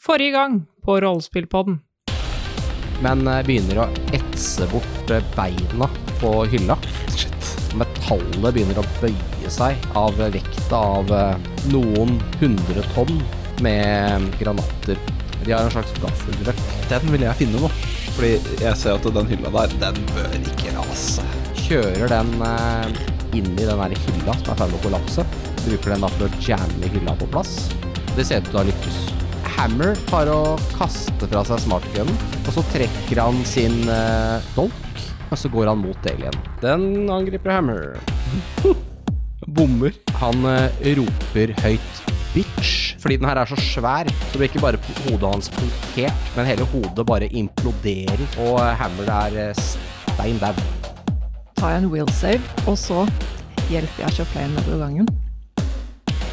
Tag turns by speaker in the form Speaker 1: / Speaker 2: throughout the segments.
Speaker 1: forrige gang på Rollespillpodden.
Speaker 2: men eh, begynner å etse bort eh, beina på hylla. Metallet begynner å bøye seg av vekta av eh, noen hundre tonn med granater. De har en slags gaffelrøkk.
Speaker 3: Den vil jeg finne nå. Fordi jeg ser at den hylla der, den bør ikke rase.
Speaker 2: Kjører den eh, inn i den der hylla som er ferdig med å kollapse. Bruker den da for å jamme hylla på plass. Det ser ut til å ha lykkes. Hammer tar og kaster fra seg smartgunnen, og så trekker han sin eh, dolk, og så går han mot Dalien. Den angriper Hammer. Bommer. Han eh, roper høyt bitch, fordi den her er så svær, så det blir ikke bare hodet hans punktert, men hele hodet bare imploderer, og eh, Hammer er eh, stein dau.
Speaker 4: tar jeg en will save, og så hjelper jeg sjåføren nedover gangen.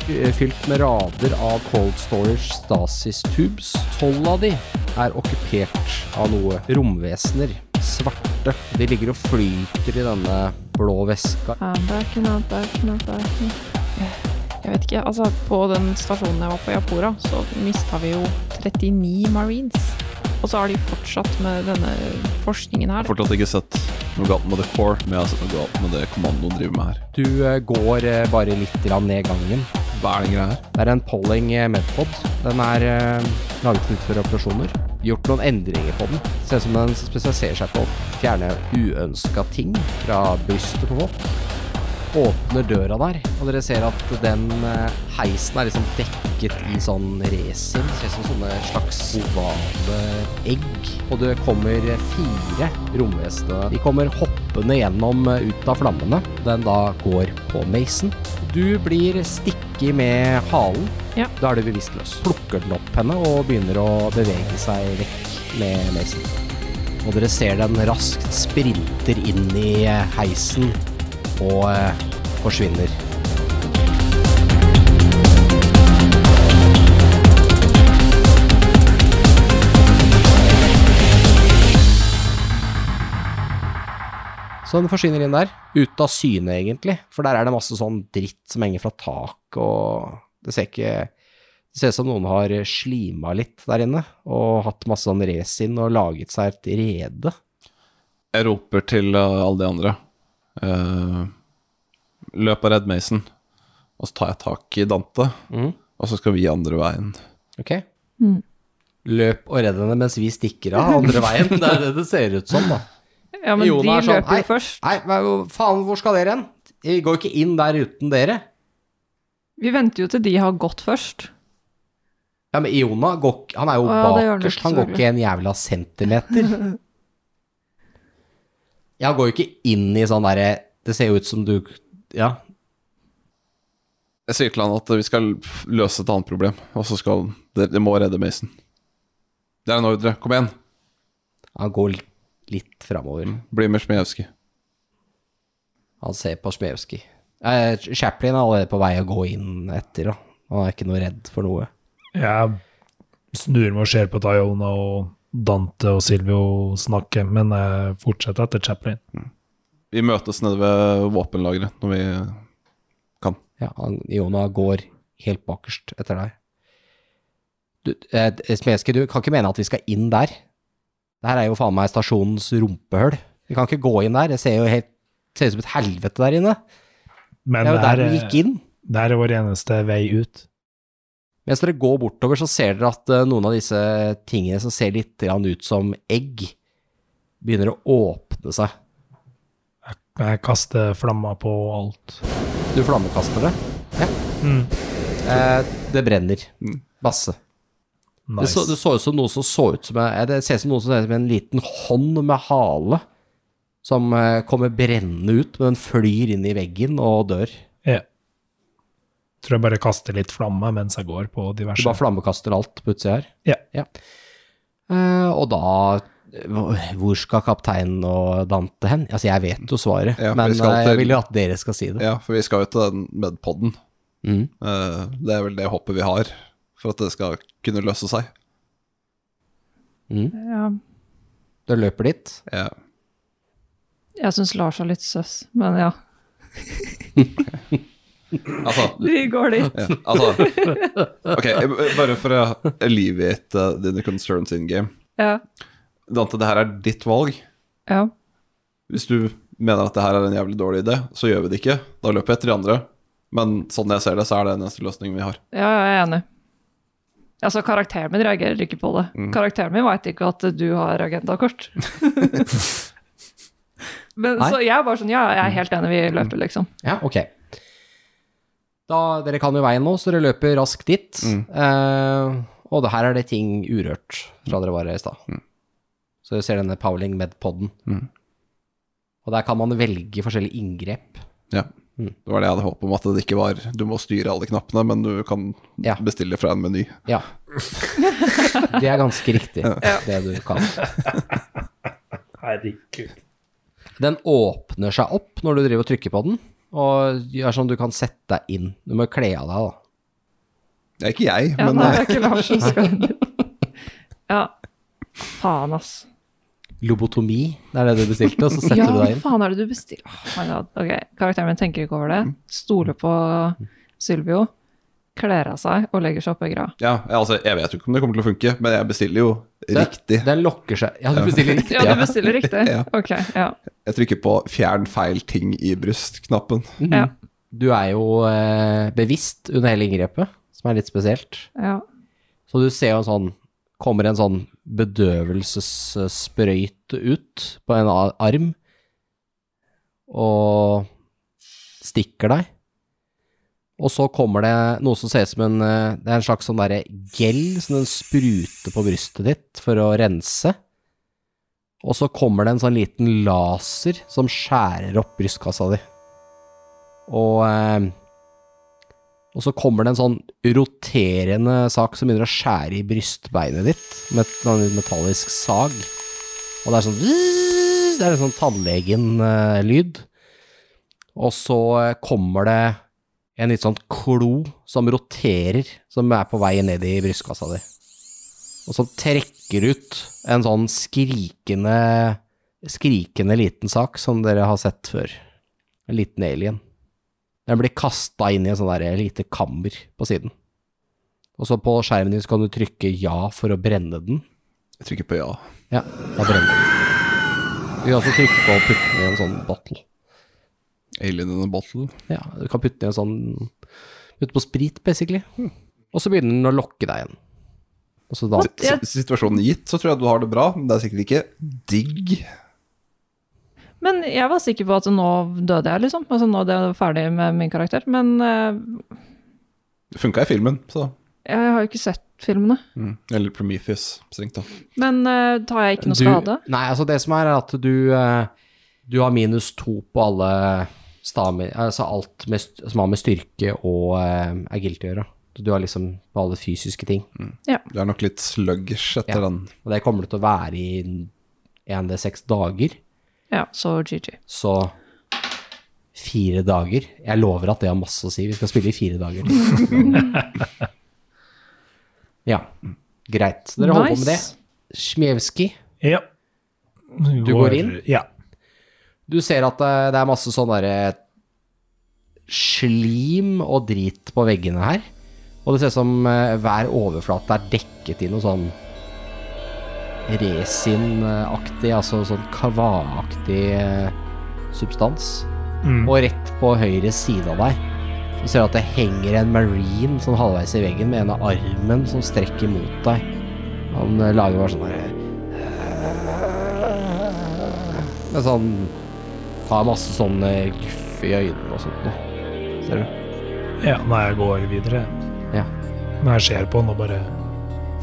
Speaker 2: eh, fylt med rader av cold storage stasis tubes. Tolv av de er okkupert av noe romvesener. Svarte. De ligger og flyter i denne blå væska.
Speaker 4: I'm back and I'm back and I'm back and-
Speaker 1: Jeg vet ikke, altså på den stasjonen jeg var på i Apora, så mista vi jo 39 marines. Og så har de fortsatt med denne forskningen
Speaker 3: Jeg har
Speaker 1: her.
Speaker 3: fortsatt ikke sett noe galt med The Core, men jeg har sett noe galt med det kommandoen driver med her.
Speaker 2: Du eh, går eh, bare litt grann ned gangen.
Speaker 3: Hva er den greia her?
Speaker 2: Det er en Polling eh, Medpod. Den er eh, laget ut for operasjoner. Gjort noen endringer på den. Ser ut som den spesialiserer seg på å fjerne uønska ting fra brystet på folk. Åpner døra der, og dere ser at den eh, heisen er liksom dekket i sånn resin. Ser ut som sånne slags ovale egg. Og det kommer fire romvesener. De kommer hoppende gjennom eh, ut av flammene. Den da går på Mason. Du blir stikket med halen.
Speaker 1: Ja.
Speaker 2: Da er du bevisstløs. Plukker den opp henne og begynner å bevege seg vekk med Mason. Og dere ser den raskt sprinter inn i eh, heisen og eh, forsvinner. Så den forsvinner inn der, ute av syne egentlig, for der er det masse sånn dritt som henger fra tak, og det ser ikke Det ser ut som noen har slima litt der inne, og hatt masse sånn resin og laget seg et rede.
Speaker 3: Jeg roper til uh, alle de andre. eh, løp og redd Mason. Og så tar jeg tak i Dante,
Speaker 2: Mhm.
Speaker 3: og så skal vi andre veien.
Speaker 2: Ok?
Speaker 1: Mm.
Speaker 2: Løp og redd henne mens vi stikker av andre veien. Det er det det ser ut som, da.
Speaker 1: Ja, men
Speaker 2: Jona er
Speaker 1: de
Speaker 2: sånn,
Speaker 1: løper
Speaker 2: «Nei,
Speaker 1: jo først.
Speaker 2: Nei, hva- hva faen, hvor skal dere hen? Vi går ikke inn der uten dere.
Speaker 1: Vi venter jo til de har gått først.
Speaker 2: Ja, men Iona går, ikke- han er jo
Speaker 1: Å, ja, det gjør han
Speaker 2: bakerst.
Speaker 1: ikke,
Speaker 2: Han går ikke en jævla centimeter. Ja, han går jo ikke inn i sånn derre Det ser jo ut som du Ja.
Speaker 3: Jeg sier til han at vi skal løse et annet problem, og så skal Dere dere må redde Mason. Det er en ordre. Kom igjen.
Speaker 2: Han går litt framover.
Speaker 3: Bli med Smejevskij.
Speaker 2: Han ser på Smejewski. Eh, Chaplin er allerede på vei å gå inn etter, da. Han er ikke noe redd for noe.
Speaker 5: Jeg snur meg og ser på Tayona og Dante og Silvio snakke, men jeg fortsetter etter Chaplin.
Speaker 3: Vi møtes nede ved våpenlageret når vi kan.
Speaker 2: Ja, han, Iona går helt bakerst etter deg. Du, eh, Smeske, du kan ikke mene at vi skal inn der. Det her er jo faen meg stasjonens rumpehøl. Vi kan ikke gå inn der. Det ser jo helt ser ut som et helvete der inne.
Speaker 5: Men
Speaker 2: Det er jo der vi
Speaker 5: er-
Speaker 2: gikk inn.
Speaker 5: det her er vår eneste vei ut.
Speaker 2: Mens dere går bortover, så ser dere at eh, noen av disse tingene som ser litt grann ut som egg, begynner å åpne seg.
Speaker 5: Jeg kaster flammer på alt.
Speaker 2: Du flammekaster det.
Speaker 5: Mm.
Speaker 2: Eh, det brenner.
Speaker 3: Mm.
Speaker 2: Masse. Det så, det
Speaker 5: Nice.
Speaker 2: så ut som noe som så ut som en, eh, Det ser ut som noe som ser ut som en liten hånd med hale som eh, kommer brennende ut, men den flyr inn i veggen og dør.
Speaker 5: Ja. Tror jeg bare kaster litt flamme mens jeg går på
Speaker 2: Du
Speaker 5: diverse
Speaker 2: bare flammekaster alt på utsida her.
Speaker 5: Ja.
Speaker 2: Eh, og da eh, Hvor skal kapteinen og Dante hen? Altså, jeg vet jo svaret,
Speaker 3: Ja, for
Speaker 2: men
Speaker 3: vi skal
Speaker 2: eh,
Speaker 3: til-
Speaker 2: jeg vil jo at dere skal si det.
Speaker 3: Ja, for vi skal jo til den medpodden.
Speaker 2: Mm.
Speaker 3: Eh, det er vel det håpet vi har for at det skal kunne løse seg.
Speaker 1: Ja,
Speaker 2: Du løper dit.
Speaker 3: Ja.
Speaker 1: jeg syns Lars er litt søss, men ja.
Speaker 3: Altså,
Speaker 1: Vi går dit.
Speaker 3: ja, altså Ok, jeg- bare for å alleviate uh, dine concerns in game.
Speaker 4: Ja.
Speaker 3: Dante, det her er ditt valg.
Speaker 4: ja.
Speaker 3: Hvis du mener at det her er en jævlig dårlig idé, så gjør vi det ikke. Da løper jeg etter de andre. Men sånn jeg ser det, så er det den eneste løsningen vi har.
Speaker 4: Ja, jeg er enig. Altså, karakteren min reagerer ikke på det.
Speaker 2: Mm.
Speaker 4: Karakteren min veit ikke at du har agendakort. Men
Speaker 2: Nei. Mm.
Speaker 4: så jeg er bare sånn, ja, jeg er helt enig, vi løper, liksom.
Speaker 2: Ja, ok. Da, dere kan jo veien nå, så dere løper raskt dit. Eh, og det her er det ting urørt fra dere var her i stad. Så dere ser denne Powling Med-podden.
Speaker 3: Mm.
Speaker 2: Og der kan man velge forskjellige inngrep.
Speaker 3: Ja.
Speaker 2: Mm.
Speaker 3: Det var det jeg hadde håp om, at det ikke var Du må styre alle knappene, men du kan
Speaker 2: Ja.
Speaker 3: bestille fra en meny.
Speaker 2: Ja. Det er ganske riktig, det du kan.
Speaker 5: Herregud.
Speaker 2: Den åpner seg opp når du driver og trykker på den, og gjør sånn du kan sette deg inn. Du må kle av deg, da.
Speaker 3: Det er ikke jeg,
Speaker 4: Ja,
Speaker 3: men
Speaker 4: nei, det
Speaker 3: eh,
Speaker 4: er ikke Lars som skal Ja. Faen, ass.
Speaker 2: Lobotomi, det er det du bestilte, og så setter
Speaker 4: ja,
Speaker 2: du
Speaker 4: hva
Speaker 2: deg inn.
Speaker 4: faen er det du bestiller? Oh my god. Ok, karakteren min tenker ikke over det.
Speaker 2: Mm.
Speaker 4: Stoler på Sylvio. Kler av seg og legger seg oppå greia.
Speaker 3: ja, altså, jeg vet jo ikke om det kommer til å funke, men jeg bestiller jo riktig.
Speaker 2: Den lokker seg. Ja, du bestiller riktig.
Speaker 4: Ja, du bestiller riktig?
Speaker 3: Ja.
Speaker 4: Ok, ja.
Speaker 3: Jeg trykker på 'fjern feil ting i bryst'-knappen.
Speaker 4: Ja.
Speaker 2: Du er jo eh, bevisst under hele inngrepet, som er litt spesielt.
Speaker 4: ja.
Speaker 2: Så du ser jo en sånn Kommer en sånn bedøvelsessprøyte ut på en a- arm og stikker deg. Og så kommer det noe som ser ut som en eh, Det er en slags sånn derre gel som den spruter på brystet ditt for å rense. Og så kommer det en sånn liten laser som skjærer opp brystkassa di. Og eh, og så kommer det en sånn roterende sak som begynner å skjære i brystbeinet ditt med et sånn metallisk sag. Og det er sånn «vzz», Det er en sånn tannlegen-lyd. Og så eh, kommer det en litt sånn klo som roterer, som er på vei ned i brystkassa di. Og som trekker ut en sånn skrikende Skrikende liten sak som dere har sett før. En liten alien. Den blir kasta inn i en sånn der lite kammer på siden. Og så på skjermen din så kan du trykke ja for å brenne den.
Speaker 3: Jeg trykker på ja.
Speaker 2: Ja, da brenner den. Du kan også trykke på å putte den i en sånn bottle.
Speaker 3: Alien in a bottle.
Speaker 2: Ja, du kan putte den i en sånn Putte på sprit, basically.
Speaker 4: Hmm.
Speaker 2: Og så begynner den å lokke deg igjen. Og så da
Speaker 4: Ja.
Speaker 3: S situasjonen gitt, så tror jeg du har det bra, men det er sikkert ikke digg.
Speaker 4: Men jeg var sikker på at nå døde jeg, liksom. Altså nå er jeg ferdig med min karakter. Men eh,
Speaker 3: Det funka i filmen, så
Speaker 4: jeg har jo ikke sett filmene.
Speaker 3: Eller Prometheus, strengt tatt.
Speaker 4: Men eh, tar jeg ikke noe
Speaker 2: Du-
Speaker 4: skade?
Speaker 2: Nei, altså det som er er at du, eh, du har minus to på alle stamin, altså alt med, st- som har med styrke og eh, agility å gjøre. Du har liksom på alle fysiske ting.
Speaker 3: Du er nok litt sluggish etter
Speaker 2: Ja.
Speaker 3: den.
Speaker 2: Og det kommer det til å være i 1D6 dager.
Speaker 4: Ja, så GG.
Speaker 2: Så fire dager. Jeg lover at det har masse å si. Vi skal spille i fire dager. ja, greit. Så Dere holder på med det.
Speaker 4: Nice.
Speaker 2: Smjevskij.
Speaker 5: Ja.
Speaker 2: Du går inn?
Speaker 5: Ja.
Speaker 2: Du ser at eh, det er masse sånn derre slim og drit på veggene her. Og det ser ut som eh, hver overflate er dekket i noe sånn resinaktig, altså sånn kavaaktig eh, substans.
Speaker 5: Mm.
Speaker 2: Og rett på høyre side av deg så ser du at det henger en marine sånn halvveis i veggen med ene armen som strekker mot deg. Han eh, lager bare sånn derre Med sånn Har masse sånne guff i øynene og sånt noe. Ser du?
Speaker 5: ja. Nei, jeg går videre.
Speaker 2: Ja.
Speaker 5: Men jeg ser på han og bare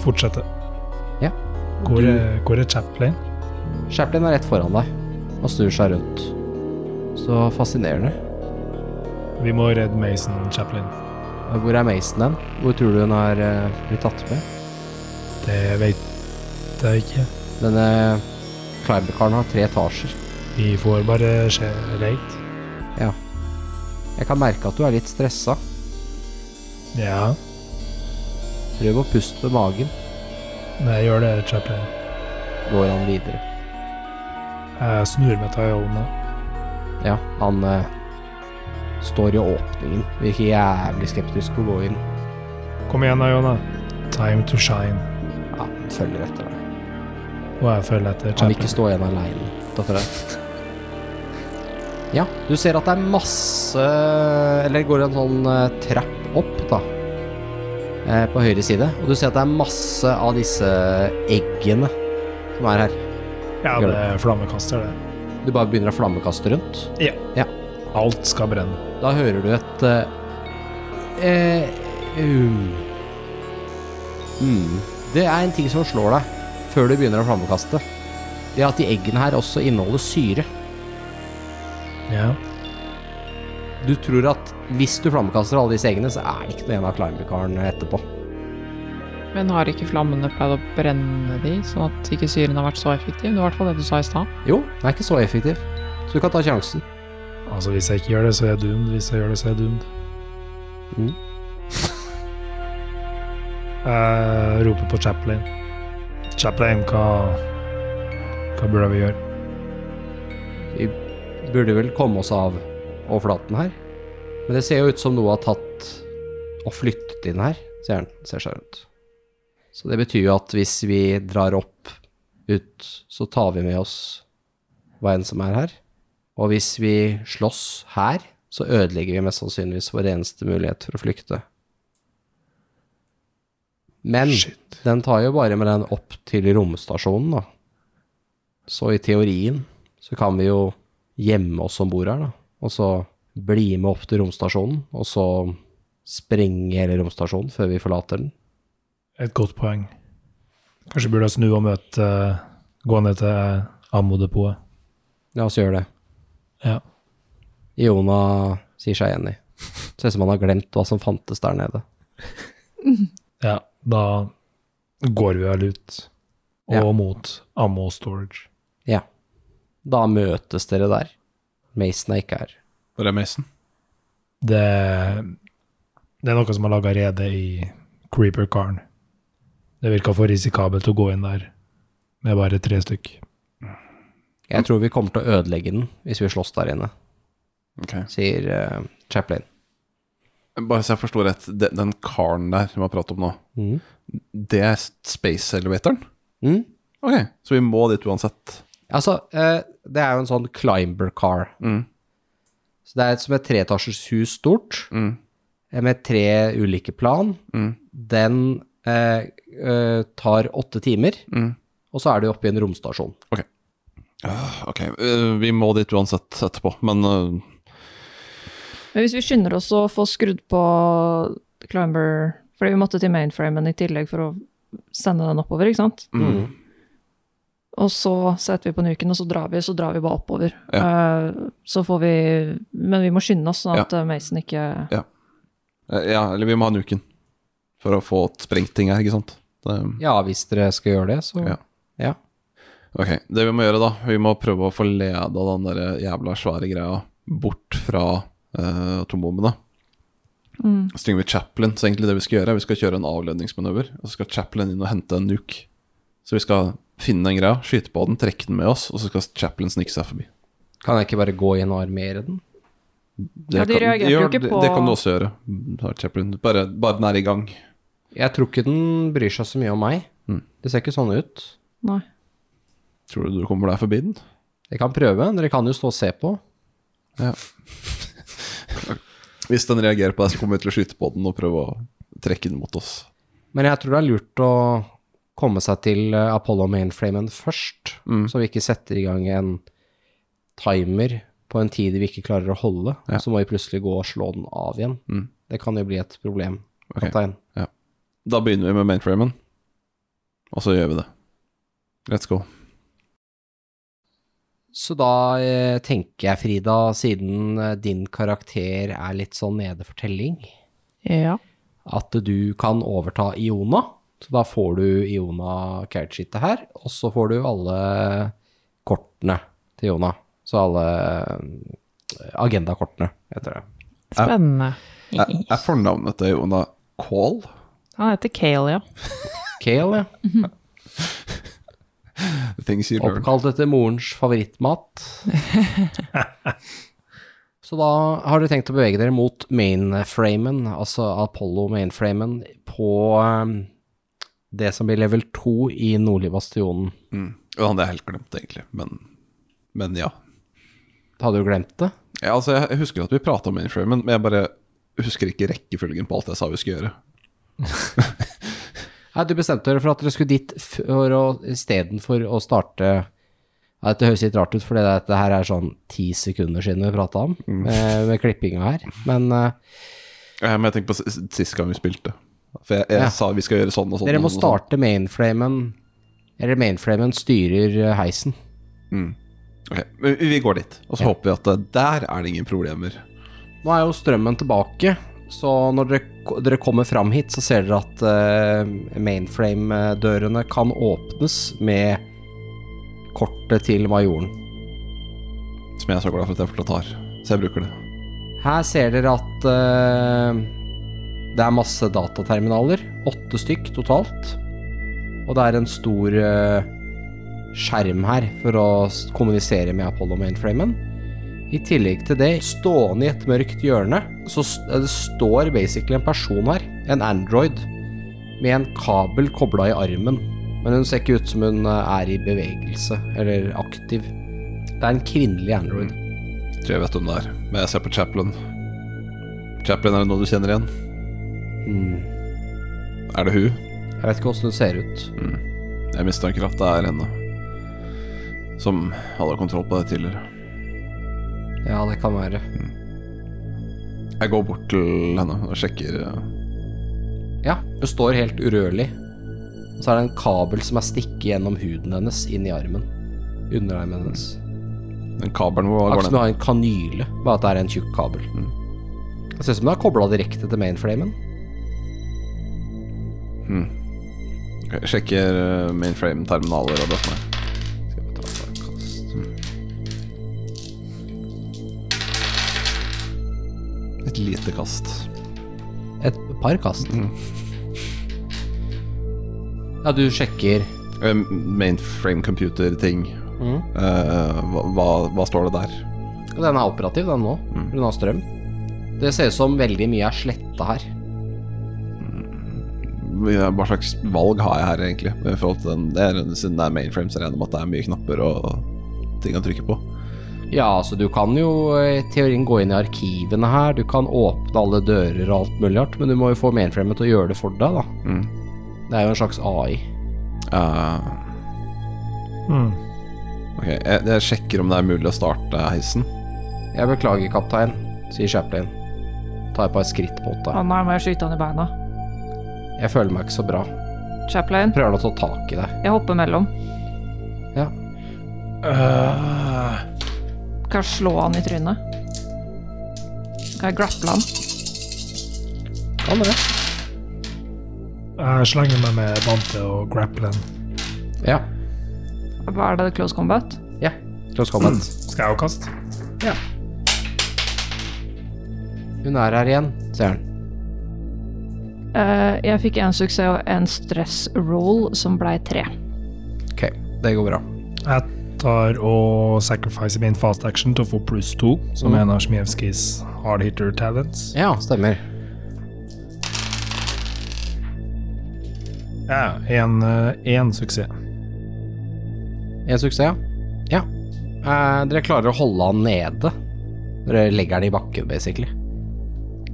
Speaker 5: fortsetter.
Speaker 2: Ja.
Speaker 5: Går,
Speaker 2: Du-
Speaker 5: det- går det Chaplin?
Speaker 2: Chaplin er rett foran deg og snur seg rundt. Så fascinerende.
Speaker 5: Vi må redde Mason Chaplin.
Speaker 2: Hvor er Mason hen? Hvor tror du hun har eh, blitt tatt med?
Speaker 5: Det vet jeg ikke.
Speaker 2: Denne climberkaren har tre etasjer.
Speaker 5: Vi får bare se leit.
Speaker 2: Jeg kan merke at du er litt stressa.
Speaker 5: Ja,
Speaker 2: Prøv å puste med magen.
Speaker 5: men jeg gjør det, Chaplin.
Speaker 2: Går han videre.
Speaker 5: Jeg snur meg til Iona.
Speaker 2: Ja, han eh, Står i åpningen. Virker jævlig skeptisk på å gå inn.
Speaker 5: Kom igjen da, Jonna. Time to shine.
Speaker 2: Ja, følger etter deg.
Speaker 5: Og jeg følger etter
Speaker 2: Han vil ikke
Speaker 5: Chapman.
Speaker 2: stå igjen aleine. Dette er det. Ja, du ser at det er masse Eller går en sånn eh, trapp opp, da. Eh, På høyre side. Og du ser at det er masse av disse eggene som er her.
Speaker 5: Ja, det er flammekaster, det.
Speaker 2: Du bare begynner å flammekaste rundt.
Speaker 5: Alt skal brenne.
Speaker 2: Da hører du et eh, eh, um. mm. Det er en ting som slår deg før du begynner å flammekaste. Det er at de eggene her også inneholder syre.
Speaker 5: Ja.
Speaker 2: Du tror at hvis du flammekaster alle disse eggene, så er det ikke den ene av climbekaren etterpå.
Speaker 1: Men har ikke flammene pleid å brenne de, sånn at ikke syren har vært så effektiv? Det var i hvert fall det du sa i stad.
Speaker 2: Jo, den er ikke så effektiv, så du kan ta sjansen.
Speaker 5: Altså, hvis jeg ikke gjør det, så er jeg doomed. Hvis jeg gjør det, så er jeg doomed.
Speaker 2: Mm.
Speaker 5: jeg roper på Chaplin. Chaplin, hva Hva burde vi gjøre?
Speaker 2: Vi burde vel komme oss av overflaten her. Men det ser jo ut som noe har tatt og flyttet inn her, ser han. Ser seg rundt. Så det betyr jo at hvis vi drar opp ut, så tar vi med oss hva enn som er her. Og hvis vi slåss her, så ødelegger vi mest sannsynligvis vår eneste mulighet for å flykte. Men den tar jo bare med den opp til romstasjonen, da. Så i teorien så kan vi jo gjemme oss om bord her, da. Og så bli med opp til romstasjonen, og så sprenge hele romstasjonen før vi forlater den.
Speaker 5: Et godt poeng. Kanskje burde jeg snu og møte eh, Gå ned til eh, Ammo-depotet.
Speaker 2: La oss gjøre det.
Speaker 5: Ja.
Speaker 2: Iona sier seg enig. Ser ut som han har glemt hva som fantes der nede.
Speaker 5: ja. Da går vi vel ut. Og
Speaker 2: Ja.
Speaker 5: mot Ammo Storage.
Speaker 2: Ja. Da møtes dere der. Mason er ikke her.
Speaker 3: Hvor er Mason?
Speaker 5: Det, det er noe som har laga rede i Creeper-karen. Det virka for risikabelt å gå inn der med bare tre stykk.
Speaker 2: Jeg tror vi kommer til å ødelegge den hvis vi slåss der inne,
Speaker 3: Ok.
Speaker 2: sier eh, Chaplin.
Speaker 3: Bare så jeg forstår rett, den, den karen der som vi har pratet om nå,
Speaker 2: Mhm.
Speaker 3: Mm. det er space elevatoren?
Speaker 2: Mm.
Speaker 3: Ok, så vi må dit uansett.
Speaker 2: Altså, eh, det er jo en sånn climber car.
Speaker 3: Mm.
Speaker 2: Så det er et som et treetasjers hus stort,
Speaker 3: Mm.
Speaker 2: eh, med tre ulike plan.
Speaker 3: Mm.
Speaker 2: Den eh, eh, tar åtte timer,
Speaker 3: Mm.
Speaker 2: og så er du oppe i en romstasjon.
Speaker 3: Ok, øh, vi må dit uansett etterpå, men øh,
Speaker 4: Men hvis vi skynder oss å få skrudd på Climber Fordi vi måtte til mainframen i tillegg for å sende den oppover, ikke sant?
Speaker 3: mm.
Speaker 4: Og så setter vi på nuken, og så drar vi, så drar vi bare oppover. Eh, så får vi Men vi må skynde oss, sånn at eh, Mason ikke
Speaker 3: Eh, Ja, eller vi må ha nuken for å få sprengt ting her, ikke sant? Det,
Speaker 2: Ja, hvis dere skal gjøre det, så
Speaker 3: Ja.
Speaker 2: ja.
Speaker 3: ok, det vi må gjøre da, vi må prøve å få leda den der jævla svære greia bort fra eh, atombombene.
Speaker 4: Mm.
Speaker 3: Så trenger vi Chaplin, så egentlig det vi skal gjøre, er vi skal kjøre en avledningsmanøver, og så skal Chaplin inn og hente en nuke. Så vi skal finne den greia, skyte på den, trekke den med oss, og så skal Chaplin snike seg forbi.
Speaker 2: Kan jeg ikke bare gå inn og armere den?
Speaker 3: Det
Speaker 4: Ja, de
Speaker 3: kan-
Speaker 4: reagerte jo
Speaker 3: gjør-
Speaker 4: ikke
Speaker 3: det-
Speaker 4: på-
Speaker 3: Det kan du også gjøre, har Chaplin. Bare, bare den er i gang.
Speaker 2: Jeg tror ikke den bryr seg så mye om meg.
Speaker 3: Mm.
Speaker 2: Det ser ikke sånn ut.
Speaker 4: Nei.
Speaker 3: Tror du du kommer deg forbi den?
Speaker 2: Jeg kan prøve, dere kan jo stå og se på.
Speaker 3: Hvis den reagerer på deg, så kommer vi til å skyte på den og prøve å trekke den mot oss.
Speaker 2: Men jeg tror det er lurt å komme seg til eh, Apollo mainframen først,
Speaker 3: Mm.
Speaker 2: så vi ikke setter i gang en timer på en tid vi ikke klarer å holde,
Speaker 3: Ja.
Speaker 2: og så må vi plutselig gå og slå den av igjen.
Speaker 3: Mm.
Speaker 2: Det kan jo bli et problem,
Speaker 3: Ok.
Speaker 2: kaptein.
Speaker 3: Da begynner vi med mainframen, og så gjør vi det. Let's go.
Speaker 2: Så da eh, tenker jeg, Frida, siden eh, din karakter er litt sånn nede for telling,
Speaker 1: Ja.
Speaker 2: at du kan overta Iona. Så da får du Iona character-sheetet her, og så får du alle kortene til Iona. Så alle eh, agendakortene, heter det.
Speaker 1: Spennende.
Speaker 3: Er, er fornavnet til Jona Call?
Speaker 1: Han heter Kale, ja.
Speaker 2: Kale, ja.
Speaker 3: Things you learn.
Speaker 2: Oppkalt etter morens favorittmat. Så da har dere tenkt å bevege dere mot mainframen, altså Apollo-mainframen, på eh, det som blir level 2 i nordlige bastionen.
Speaker 3: Mm. Det hadde jeg helt glemt, egentlig. Men, men ja.
Speaker 2: Hadde du glemt det?
Speaker 3: ja. Altså, jeg husker at vi prata om mainframen, men jeg bare husker ikke rekkefølgen på alt jeg sa vi skulle gjøre.
Speaker 2: Nei, du bestemte dere for at dere skulle dit for å, istedenfor å starte ja, Dette høres litt rart ut, for dette her er sånn ti sekunder siden vi prata om, med, med klippinga her. Men eh,
Speaker 3: Ja, men jeg tenker på s- s- sist gang vi spilte. For jeg, jeg
Speaker 2: Ja.
Speaker 3: sa vi skal gjøre sånn og sånn.
Speaker 2: dere må
Speaker 3: og sånn og sånn.
Speaker 2: starte mainframen Eller mainframen styrer eh, heisen.
Speaker 3: Mm. Ok, men vi- vi går dit, og så
Speaker 2: Ja.
Speaker 3: håper vi at eh, der er det ingen problemer.
Speaker 2: Nå er jo strømmen tilbake, så når dere, ko- dere kommer fram hit, så ser dere at eh, mainframe-dørene kan åpnes med kortet til majoren.
Speaker 3: Som jeg er så glad for at jeg fortsatt har. Så jeg bruker det.
Speaker 2: Her ser dere at eh, det er masse dataterminaler, åtte stykk totalt. Og det er en stor eh, skjerm her for å s- kommunisere med Apollo-mainframen. I tillegg til det, stående i et mørkt hjørne, så s- eh, det står basically en person her, en android, med en kabel kobla i armen. Men hun ser ikke ut som hun eh, er i bevegelse eller aktiv. Det er en kvinnelig android.
Speaker 3: Jeg tror jeg vet hvem det er, men jeg ser på Chaplin. Chaplin, er det noe du kjenner igjen?
Speaker 2: Hmm.
Speaker 3: Er det hun?
Speaker 2: Jeg vet ikke åssen hun ser ut.
Speaker 3: Jeg mistenker at det er henne. Som hadde kontroll på det tidligere.
Speaker 2: Ja, det kan være.
Speaker 3: Jeg går bort til henne og sjekker eh,
Speaker 2: Ja, hun står helt urørlig. Og så er det en kabel som er stikket gjennom huden hennes, inn i armen. Underarmen hennes.
Speaker 3: den kabelen hvor
Speaker 2: Akkurat
Speaker 3: går
Speaker 2: som hun
Speaker 3: den. Mm.
Speaker 2: har en kanyle, bare at det er en tjukk kabel. Det ser ut som den er kobla direkte til mainframen.
Speaker 3: Ok, Jeg sjekker eh, mainframe-terminaler og det som er.
Speaker 2: Skal vi ta et kast.
Speaker 3: Et lite kast.
Speaker 2: Et par kast.
Speaker 3: Mm.
Speaker 2: Ja, du sjekker
Speaker 3: Eh, Mainframe-computer-ting. Eh, hva, hva, hva står det der?
Speaker 2: Og den er operativ, den nå.
Speaker 3: Mm.
Speaker 2: Hun har strøm. Det ser ut som veldig mye er sletta her.
Speaker 3: Ja, Hva slags valg har jeg her, egentlig? I forhold til den, det er, siden det er mainframe, så regner jeg med at det er mye knapper og ting å trykke på.
Speaker 2: Ja, altså du kan jo eh, i teorien gå inn i arkivene her, du kan åpne alle dører og alt mulig rart, men du må jo få mainframen til å gjøre det for deg, da.
Speaker 3: Mm.
Speaker 2: Det er jo en slags AI.
Speaker 3: Eh,
Speaker 5: Mm.
Speaker 3: ok, jeg, jeg sjekker om det er mulig å starte heisen.
Speaker 2: Jeg beklager, kaptein, sier Chaplin. Tar et par skritt mot
Speaker 4: Å
Speaker 2: deg.
Speaker 4: nei, må jeg skyte han i beina.
Speaker 2: Jeg føler meg ikke så bra.
Speaker 4: Chaplain,
Speaker 2: Jeg prøver å ta tak i deg.
Speaker 4: jeg hopper mellom.
Speaker 2: Ja.
Speaker 5: Øh,
Speaker 4: Kan jeg slå han i trynet? Kan jeg grapple han?
Speaker 2: Kan dere?
Speaker 5: jeg slenger meg med Dante og grapplen.
Speaker 2: Ja.
Speaker 4: Hva er det, close combat?
Speaker 2: Ja. Close combat.
Speaker 5: Skal jeg også kaste?
Speaker 2: Ja. Hun er her igjen, sier han.
Speaker 4: Eh, jeg fikk en suksess og en stress roll som blei tre.
Speaker 2: Ok, det går bra.
Speaker 5: Jeg tar og sacrificer min fast action til å få pluss to, som er en av Smijevskijs hard hitter talents.
Speaker 2: Ja, stemmer.
Speaker 5: Ja, en, eh, en suksess.
Speaker 2: En suksess, ja. ja. Eh, dere klarer å holde han nede. Dere legger han i bakken, basically.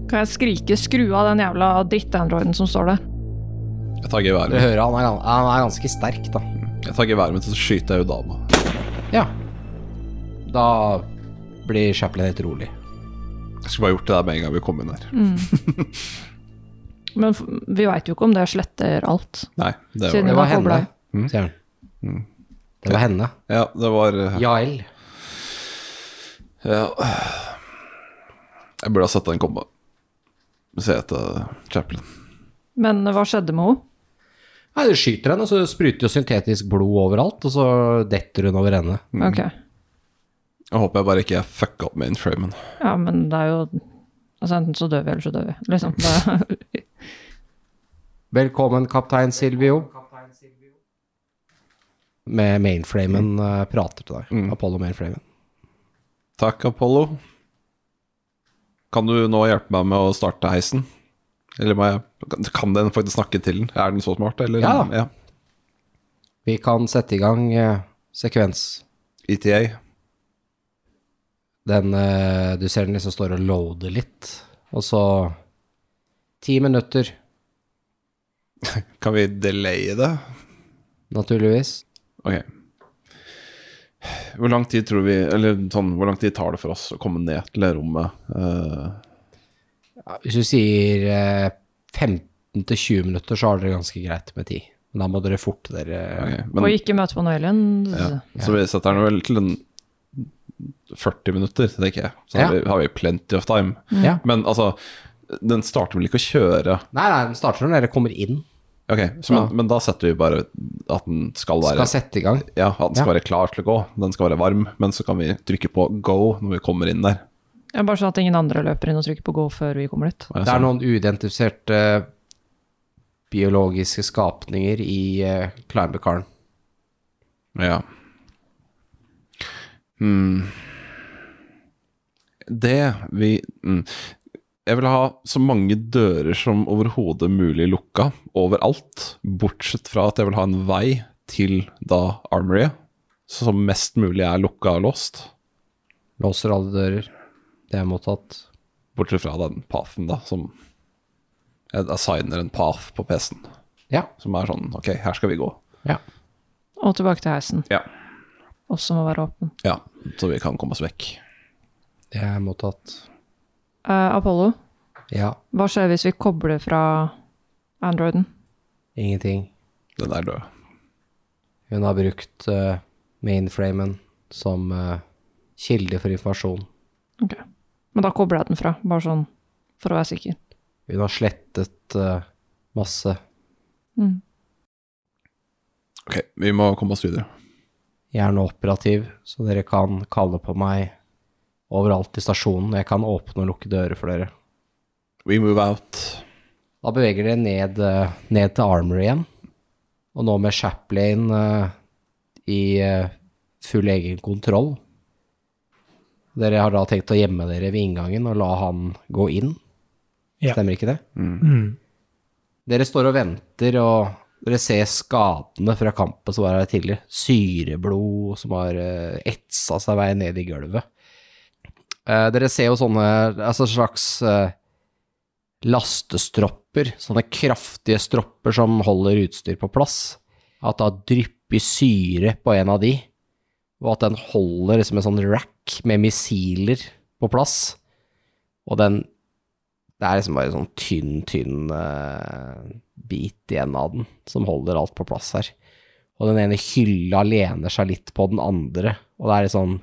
Speaker 4: Kan jeg skrike 'skru av den jævla drittandroiden som står der'?
Speaker 3: Jeg tar geværet
Speaker 2: Dere
Speaker 3: mitt.
Speaker 2: hører han er, gan- han er ganske sterk, da.
Speaker 3: Jeg tar geværet mitt, og så skyter jeg ut dama.
Speaker 2: Ja. Da blir Chaplin helt rolig.
Speaker 3: Jeg skulle bare gjort det der med en gang vi kom inn her.
Speaker 4: Men f- vi veit jo ikke om det sletter alt.
Speaker 3: Nei, det var
Speaker 4: Siden-
Speaker 2: Det
Speaker 4: Den
Speaker 2: var
Speaker 4: er koblet.
Speaker 2: henne, sier han. Det var henne.
Speaker 3: Ja, det var eh,
Speaker 2: Jael.
Speaker 3: ja. Jeg burde ha sett den komme. Se etter Chaplin.
Speaker 4: Men hva skjedde med henne?
Speaker 2: Nei, du skyter henne, og så spruter jo syntetisk blod overalt, og så detter hun over ende.
Speaker 4: Ok.
Speaker 3: Jeg håper jeg bare ikke fucka opp mainframen.
Speaker 4: Ja, men det er jo Altså, enten så dør vi, eller så dør vi. Liksom. Det,
Speaker 2: Velkommen, kaptein Silvio. Med mainframen eh, prater til deg. Apollo mainframen.
Speaker 3: Takk, Apollo. Kan du nå hjelpe meg med å starte heisen? Eller må jeg Kan den faktisk snakke til den? Er den så smart, eller?
Speaker 2: Ja. Vi kan sette i gang eh, sekvens.
Speaker 3: ETA.
Speaker 2: Den eh, Du ser den liksom står og loader litt, og så Ti minutter,
Speaker 3: Kan vi delaye det?
Speaker 2: naturligvis.
Speaker 3: Ok. Hvor lang tid tror vi Eller sånn, hvor lang tid tar det for oss å komme ned til det rommet? Eh,
Speaker 2: Ja, hvis du sier eh, 15 til 20 minutter, så har dere ganske greit med tid. Men da må dere forte dere.
Speaker 3: ok,
Speaker 4: Og
Speaker 3: Men,
Speaker 4: ikke møte på Noilen.
Speaker 3: ja, så vi setter den vel til en 40 minutter, tenker jeg. Så har,
Speaker 2: Ja.
Speaker 3: vi, har vi plenty of time.
Speaker 2: Ja.
Speaker 3: Men altså, den starter vel ikke å kjøre?
Speaker 2: Nei, nei, den starter når dere kommer inn.
Speaker 3: Ok, så men,
Speaker 2: Ja.
Speaker 3: men da setter vi bare at den skal være
Speaker 2: Skal sette i gang.
Speaker 3: Ja, at den skal
Speaker 2: Ja.
Speaker 3: være klar til å gå. Den skal være varm, men så kan vi trykke på go når vi kommer inn der.
Speaker 4: Ja, bare sånn at ingen andre løper inn og trykker på go før vi kommer dit.
Speaker 3: Og jeg
Speaker 2: Det
Speaker 3: sa,
Speaker 2: er noen uidentifiserte eh, biologiske skapninger i eh, climberkaren.
Speaker 3: Ja. Hmm. Det vi mm. Jeg vil ha så mange dører som overhodet mulig lukka overalt, bortsett fra at jeg vil ha en vei til da armoryet, som mest mulig er lukka og låst.
Speaker 2: Låser alle dører. Det er mottatt.
Speaker 3: Bortsett fra den pathen, da, som Jeg assigner en path på PC-en,
Speaker 2: Ja.
Speaker 3: som er sånn Ok, her skal vi gå.
Speaker 2: ja.
Speaker 4: Og tilbake til heisen,
Speaker 3: Ja.
Speaker 4: også må være åpen.
Speaker 3: Ja, så vi kan komme oss vekk.
Speaker 2: Det er mottatt.
Speaker 4: Eh, Apollo,
Speaker 2: Ja.
Speaker 4: hva skjer hvis vi kobler fra Androiden?
Speaker 2: Ingenting.
Speaker 3: Den er død.
Speaker 2: Hun har brukt eh, mainframen som eh, kilde for informasjon.
Speaker 4: Ok. Men da kobler jeg den fra, bare sånn for å være sikker.
Speaker 2: Hun har slettet eh, masse.
Speaker 4: Mm.
Speaker 3: Ok, vi må komme oss videre.
Speaker 2: Jeg er nå operativ, så dere kan kalle på meg overalt i stasjonen. Jeg kan åpne og lukke dører for dere.
Speaker 3: We move out.
Speaker 2: Da beveger dere ned, eh, ned til Armory igjen. Og nå med Chaplin eh, i eh, full egen kontroll. Dere har da tenkt å gjemme dere ved inngangen og la han gå inn.
Speaker 5: Ja.
Speaker 2: Stemmer ikke det?
Speaker 5: Mm.
Speaker 2: Dere står og venter, og dere ser skadene fra kampen som var her tidligere. Syreblod som har eh, etsa seg vei ned i gulvet. Eh, Dere ser jo sånne altså slags eh, lastestropper, sånne kraftige stropper som holder utstyr på plass. At det har dryppig syre på en av de, og at den holder liksom en sånn rack med missiler på plass. Og den det er liksom bare en sånn tynn, tynn eh, bit igjen av den, som holder alt på plass her. Og den ene hylla lener seg litt på den andre, og det er litt sånn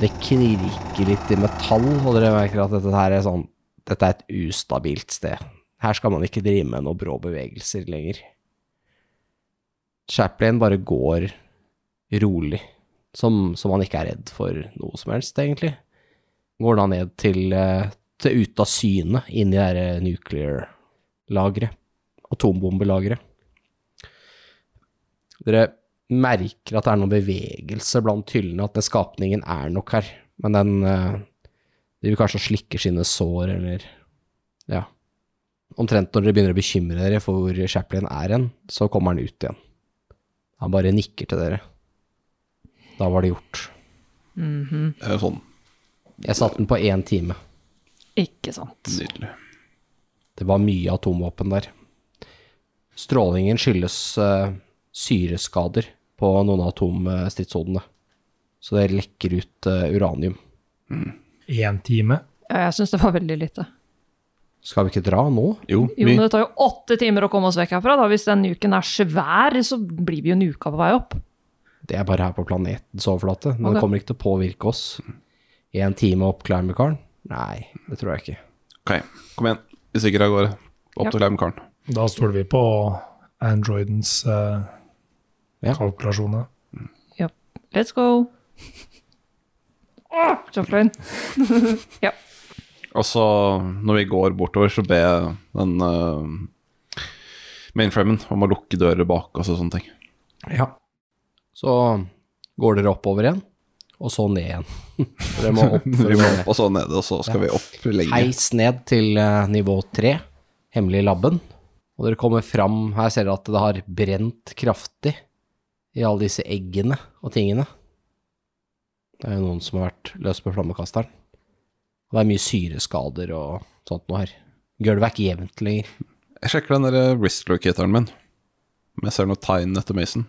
Speaker 2: Det knirker litt i metall, og dere merker at dette her er sånn Dette er et ustabilt sted. Her skal man ikke drive med noen brå bevegelser lenger. Chaplin bare går rolig, som, som han ikke er redd for noe som helst, egentlig går da ned til, eh, til ut av syne inn i det her eh, nuclear-lageret, atombombelageret. Dere merker at det er noen bevegelse blant hyllene, at den skapningen er nok her, men den eh, driver kanskje og slikker sine sår, eller ja. Omtrent når dere begynner å bekymre dere for hvor Chaplin er hen, så kommer han ut igjen. Han bare nikker til dere. Da var det gjort.
Speaker 3: Det er jo sånn
Speaker 2: Jeg satte den på én time.
Speaker 4: Ikke sant.
Speaker 3: nydelig.
Speaker 2: Det var mye atomvåpen der. Strålingen skyldes eh, syreskader på noen av atomstridshodene. Så det lekker ut eh, uranium.
Speaker 5: Én time.
Speaker 4: Ja, jeg syns det var veldig lite.
Speaker 2: Skal vi ikke dra nå?
Speaker 3: Jo,
Speaker 4: Jo,
Speaker 3: vi,
Speaker 4: men det tar jo åtte timer å komme oss vekk herfra. Da. Hvis den nuken er svær, så blir vi jo nuka på vei opp.
Speaker 2: Det er bare her på planetens overflate. Men
Speaker 4: Ok.
Speaker 2: det kommer ikke til å påvirke oss. Én time opp Climberkaren? Nei, det tror jeg ikke.
Speaker 3: ok, kom igjen. Vi stikker av gårde. Opp
Speaker 4: Ja.
Speaker 3: til Leimkaren.
Speaker 5: Da stoler vi på Androidens eh,
Speaker 2: Ja.
Speaker 5: kalkulasjoner.
Speaker 4: Ja. Let's go. Åh, Chaplin. ja.
Speaker 3: Og så, når vi går bortover, så ber jeg den eh, mainframen om å lukke dører bak oss og sånne ting.
Speaker 2: Ja. Så går dere oppover igjen, og så ned igjen. Dere må opp.
Speaker 3: Vi
Speaker 2: For å gå
Speaker 3: må
Speaker 2: ned.
Speaker 3: opp og så nede, og så skal vi opp lenge.
Speaker 2: Heis ned til eh, nivå 3, hemmelig labben. Og dere kommer fram, her ser dere at det har brent kraftig i alle disse eggene og tingene. Det er jo noen som har vært løs på flammekasteren. Og det er mye syreskader og sånt noe her. Gulvet er ikke jevnt lenger.
Speaker 3: Jeg sjekker den der wristlocatorn min. Om jeg ser noe tegn etter Mason.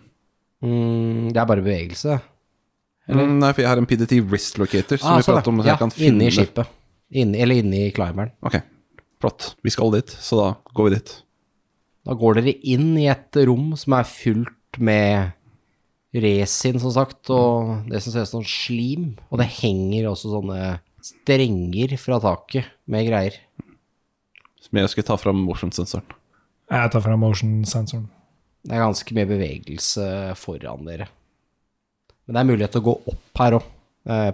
Speaker 2: Mm, det er bare bevegelse.
Speaker 3: Mm, nei, for jeg har en PDT wrist locator som
Speaker 2: Ah,
Speaker 3: vi
Speaker 2: sånn,
Speaker 3: pratet om. Så
Speaker 2: ja,
Speaker 3: jeg kan finne
Speaker 2: inne i skipet. Inne, eller inne i climberen.
Speaker 3: Ok, flott. Vi skal dit, så da går vi dit.
Speaker 2: Da går dere inn i et rom som er fullt med resin, som sagt, og det som ser ut som slim. Og det henger også sånne strenger fra taket med greier.
Speaker 3: Som jeg skal ta fram motion-sensoren.
Speaker 5: Jeg tar fra motion-sensoren.
Speaker 2: Det er ganske mye bevegelse foran dere. Men det er mulighet til å gå opp her òg,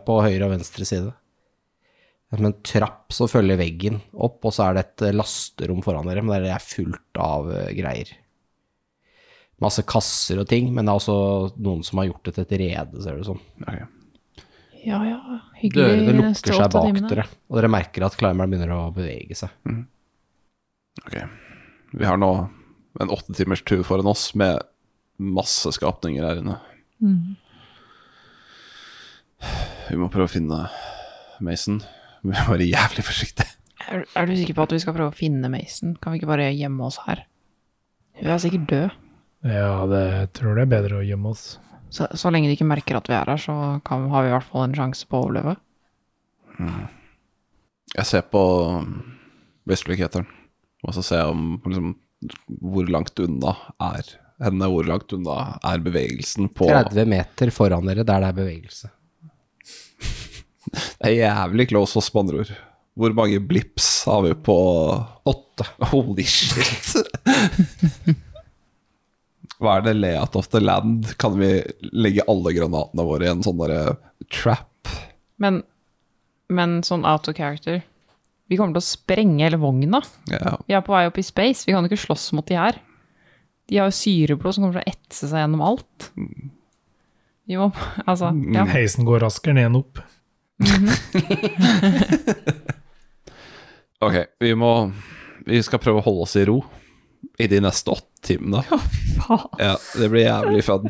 Speaker 2: på høyre og venstre side. Det er Som en trapp så følger veggen opp, og så er det et eh, lasterom foran dere, men det er fullt av eh, greier. Masse kasser og ting, men det er også noen som har gjort det til et rede, ser det ut som.
Speaker 3: Ok.
Speaker 1: Ja ja, hyggelig
Speaker 2: Dørene
Speaker 1: de
Speaker 2: lukker
Speaker 1: neste
Speaker 2: seg
Speaker 1: åtte
Speaker 2: bak
Speaker 1: timene.
Speaker 2: dere, og dere merker at climberen begynner å bevege seg.
Speaker 3: Ok. Vi har nå en åtte timers tur foran oss med masse skapninger her inne. Vi må prøve å finne Mason. Vi må være jævlig forsiktige.
Speaker 1: Er, er du sikker på at vi skal prøve å finne Mason? Kan vi ikke bare gjemme oss her? Hun er sikkert død.
Speaker 5: Ja, det tror jeg det er bedre å gjemme oss.
Speaker 1: Så, så lenge de ikke merker at vi er her, så kan, har vi i hvert fall en sjanse på å overleve.
Speaker 3: Jeg ser på um, Westlick-heteren, og så ser jeg om liksom, hvor langt unna er henne, hvor langt unna er bevegelsen på
Speaker 2: 30 meter foran dere, der det er bevegelse.
Speaker 3: Det er jævlig close hos spannerord. Hvor mange blips har vi på
Speaker 2: Åtte.
Speaker 3: Holy shit! Hva er det layout of the land? Kan vi legge alle granatene våre i en sånn derre trap?
Speaker 1: Men, men sånn out of character Vi kommer til å sprenge hele vogna.
Speaker 3: Ja.
Speaker 1: Vi er på vei opp i space. Vi kan jo ikke slåss mot de her. De har jo syreblod som kommer til å etse seg gjennom alt. Vi må Altså, ja.
Speaker 5: Heisen går raskere ned enn opp.
Speaker 3: Ok, vi må Vi skal prøve å holde oss i ro i de neste åtte timene.
Speaker 1: Faen.
Speaker 3: Ja, det blir jævlig fun.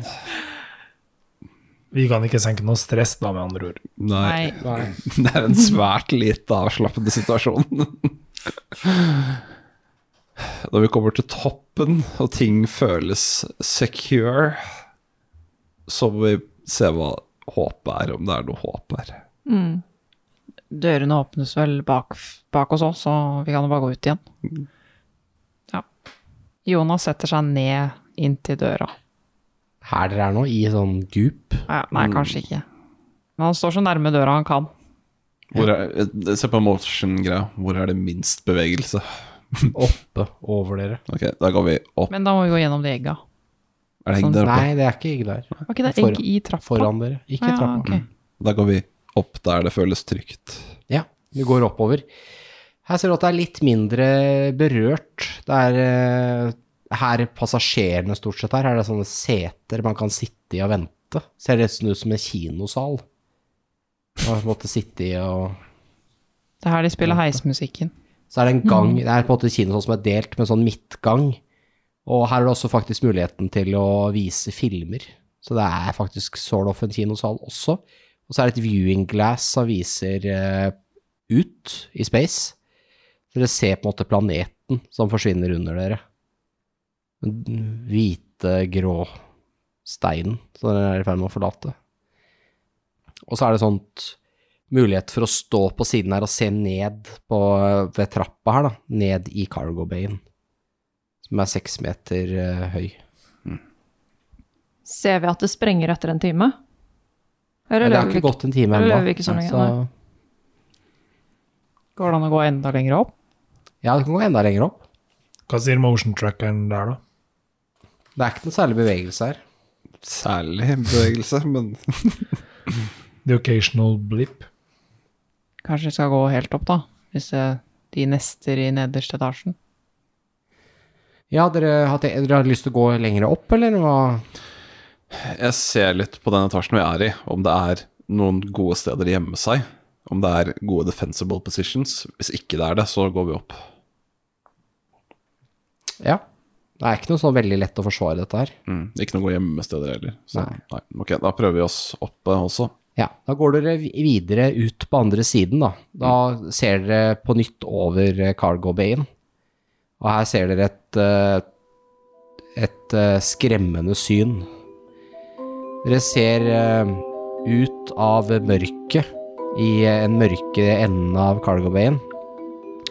Speaker 5: Vi kan ikke senke noe stress, da, med andre ord.
Speaker 3: Nei.
Speaker 1: Nei.
Speaker 3: Det er en svært lite avslappende situasjon. Når vi kommer til toppen, og ting føles secure, så må vi se hva håpet er, om det er noe håp her.
Speaker 1: Dørene åpnes vel bak, bak oss òg, så vi kan jo bare gå ut igjen.
Speaker 2: Mm.
Speaker 1: Ja. Jonas setter seg ned inntil døra.
Speaker 2: Her dere er nå, i sånn goop.
Speaker 1: Ja, nei,
Speaker 2: Mm.
Speaker 1: kanskje ikke. Men han står så nærme døra han kan.
Speaker 3: Hvor er, se på motion-greia. Hvor er det minst bevegelse?
Speaker 2: Oppe over dere.
Speaker 3: Ok, da går vi opp.
Speaker 1: Men da må vi gå gjennom de egga.
Speaker 3: Er det egg der oppe?
Speaker 2: Nei, det er ikke egg der.
Speaker 1: Var ikke det
Speaker 2: Foran-
Speaker 1: egg i trappa?
Speaker 2: Foran dere. Ikke
Speaker 1: Ah, ja,
Speaker 2: trappa.
Speaker 1: ok.
Speaker 3: Da går vi opp der det føles trygt.
Speaker 2: Ja, du går oppover. Her ser du at det er litt mindre berørt. Det er eh, her passasjerene stort sett er. Her er det sånne seter man kan sitte i og vente. Ser nesten ut som en kinosal. Man måtte sitte i og
Speaker 1: Det er her de spiller heismusikken.
Speaker 2: Så er det en gang, det er på en måte kino sånn som er delt med sånn midtgang. Og her er det også faktisk muligheten til å vise filmer. Så det er faktisk sort of en kinosal også. Og så er det et viewing glass som viser eh, ut i space. Så dere ser på en måte planeten som forsvinner under dere. Den hvite, grå steinen som dere er i ferd med å forlate. Og så er det sånt mulighet for å stå på siden her og se ned på, ved trappa her, da, ned i cargo bayen, som er seks meter eh, høy.
Speaker 4: Ser vi at det sprenger etter en time?
Speaker 2: Nei,
Speaker 4: Eller
Speaker 2: det har
Speaker 4: lever vi
Speaker 2: ikke
Speaker 4: ikke?
Speaker 2: gått en time
Speaker 4: eller
Speaker 2: ennå.
Speaker 4: lever vi ikke så lenge,
Speaker 2: så-
Speaker 1: Går det an å gå enda lenger opp?
Speaker 2: Ja, det kan gå enda lenger opp.
Speaker 5: Hva sier motion-trackeren der, da?
Speaker 2: Det er ikke noe særlig bevegelse her.
Speaker 3: Særlig bevegelse, men
Speaker 5: The occasional blip.
Speaker 1: Kanskje vi skal gå helt opp, da? Hvis eh, de nester i nederste etasjen.
Speaker 2: Ja, dere har, te- dere har lyst til å gå lenger opp, eller hva?
Speaker 3: Jeg ser litt på den etasjen vi er i, om det er noen gode steder å gjemme seg. Om det er gode defensible positions. Hvis ikke det er det, så går vi opp.
Speaker 2: Ja. Det er ikke noe sånn veldig lett å forsvare dette her.
Speaker 3: Mm. Ikke noen gode gjemmesteder heller. Så
Speaker 2: Nei.
Speaker 3: nei. ok, da prøver vi oss oppe også.
Speaker 2: Ja, da går dere vi- videre ut på andre siden da. Da ser dere på nytt over eh, cargo bayen. Og her ser dere et, eh, et eh, skremmende syn. Dere ser eh, ut av mørket, i eh, en mørke enden av cargo bayen.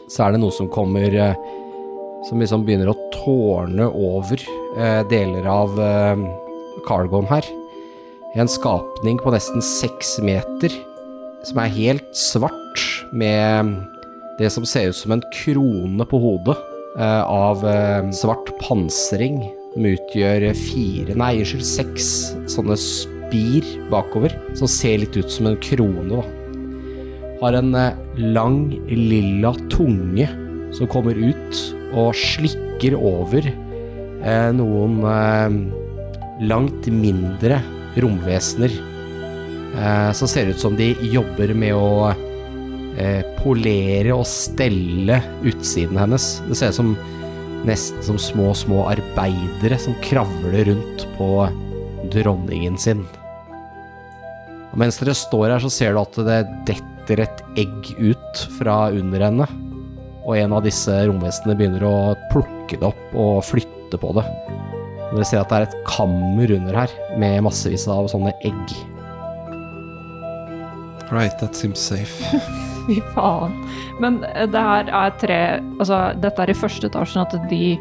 Speaker 2: Så er det noe som kommer, eh, som liksom begynner å tårne over eh, deler av eh, cargoen her. En skapning på nesten seks meter, som er helt svart, med det som ser ut som en krone på hodet eh, av eh, svart pansring, som utgjør fire, nei, unnskyld, seks sånne spir bakover, som ser litt ut som en krone, da. Har en eh, lang, lilla tunge som kommer ut og slikker over eh, noen eh, langt mindre romvesener eh, som ser ut som de jobber med å eh, polere og stelle utsiden hennes. Det ser ut som nesten som små, små arbeidere som kravler rundt på dronningen sin. Og mens dere står her, så ser du at det detter et egg ut fra under henne. Og en av disse romvesenene begynner å plukke det opp og flytte på det. Og Dere ser at det er et kammer under her, med massevis av sånne egg.
Speaker 3: Right, that seems safe.
Speaker 4: Fy faen. Men eh, det her er tre Altså, dette er i første etasjen at de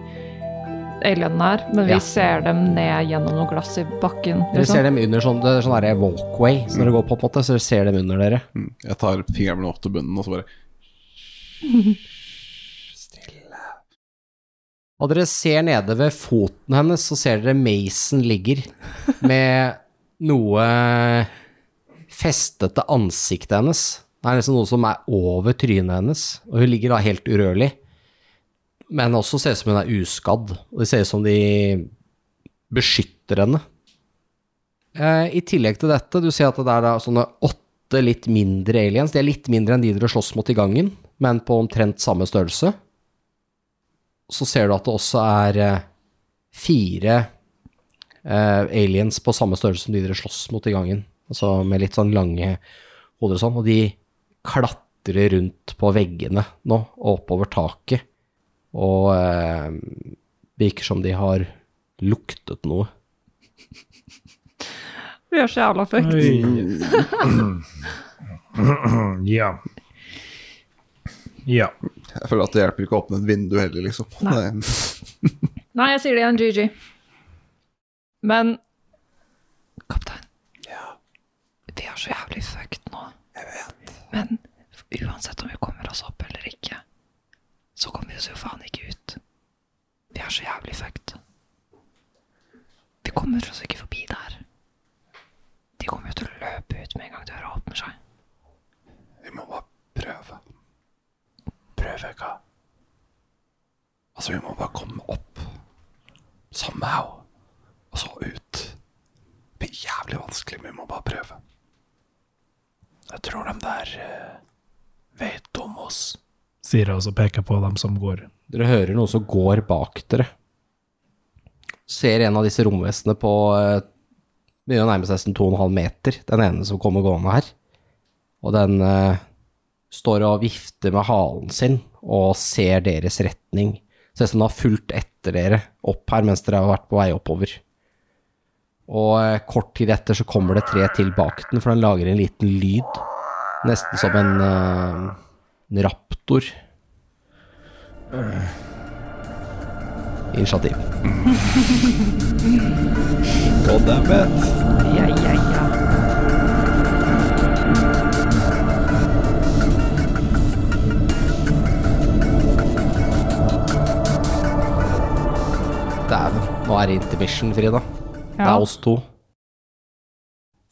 Speaker 4: alienene er, men vi
Speaker 2: Ja.
Speaker 4: ser dem ned gjennom noe glass i bakken.
Speaker 2: Dere
Speaker 4: liksom.
Speaker 2: ser dem under sånn, det er sånn der walkway, så når dere går på, på en måte, så ser dem under dere.
Speaker 3: Mm. Jeg tar fingeren min opp til bunnen og så bare
Speaker 2: Og dere ser nede ved foten hennes, så ser dere Mason ligger med noe festet til ansiktet hennes. Det er liksom noe som er over trynet hennes, og hun ligger da helt urørlig. Men også ser det ut som hun er uskadd, og det ser ut som de beskytter henne. Eh, I tillegg til dette, du ser at det er da sånne åtte litt mindre aliens. De er litt mindre enn de dere slåss mot i gangen, men på omtrent samme størrelse så ser du at det også er eh, fire eh, aliens på samme størrelse som de dere slåss mot i gangen. Altså med litt sånn lange hoder og sånn. Og de klatrer rundt på veggene nå, og oppover taket. Og eh, virker som de har luktet noe.
Speaker 4: Vi er så jævla fucked.
Speaker 5: Oi. Mm. ja. Ja.
Speaker 3: Jeg føler at det hjelper ikke å åpne et vindu heller, liksom. Det,
Speaker 4: Nei, jeg sier det igjen, GG. Men Kaptein. Vi er så jævlig fucked nå. Men f- uansett om vi kommer oss opp eller ikke, så kommer vi oss jo faen ikke ut. Vi er så jævlig fucked. Vi kommer oss ikke forbi der. De kommer jo til å løpe ut med en gang døra åpner seg.
Speaker 3: vi må bare prøve. Prøve hva? Altså, vi må bare komme opp. Somehow. Og så ut. Det blir jævlig vanskelig, men vi må bare prøve. Jeg tror de der eh, vet om oss.
Speaker 5: Sier jeg og peker på dem som går.
Speaker 2: Dere hører noe som går bak dere. Ser en av disse romvestene på eh, Begynner å nærme seg nesten 2,5 meter, den ene som kommer gående her. Og den eh, står og vifter med halen sin og ser deres retning. Ser ut som den har fulgt etter dere opp her mens dere har vært på vei oppover. Og eh, kort tid etter så kommer det tre til bak den, for den lager en liten lyd. Nesten som en, eh, en raptor. Initiativ.
Speaker 4: Ja, ja, ja.
Speaker 2: Dæven, nå er det intermission, Frida. Det
Speaker 1: Ja.
Speaker 2: er oss to.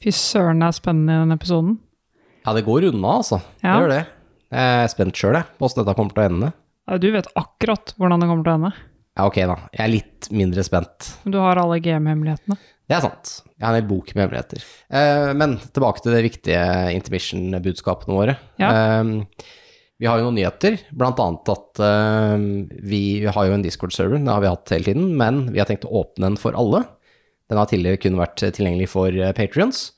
Speaker 1: Fy søren, det er spennende i denne episoden.
Speaker 2: Ja, det går unna, altså.
Speaker 1: Ja.
Speaker 2: Det gjør det. Jeg er spent sjøl, jeg, på åssen dette kommer til å ende.
Speaker 1: Ja, Du vet akkurat hvordan det kommer til å ende.
Speaker 2: Ja, ok da. Jeg er litt mindre spent.
Speaker 1: Men du har alle GM-hemmelighetene.
Speaker 2: Det er sant. Jeg har en hel bok med hemmeligheter. Eh, men tilbake til det viktige intermission-budskapene våre.
Speaker 1: Ja.
Speaker 2: Eh, vi har jo noen nyheter, blant annet at eh, vi har jo en Discord-server, det har vi hatt hele tiden, men vi har tenkt å åpne den for alle. Den har tidligere kun vært tilgjengelig for eh, Patreons.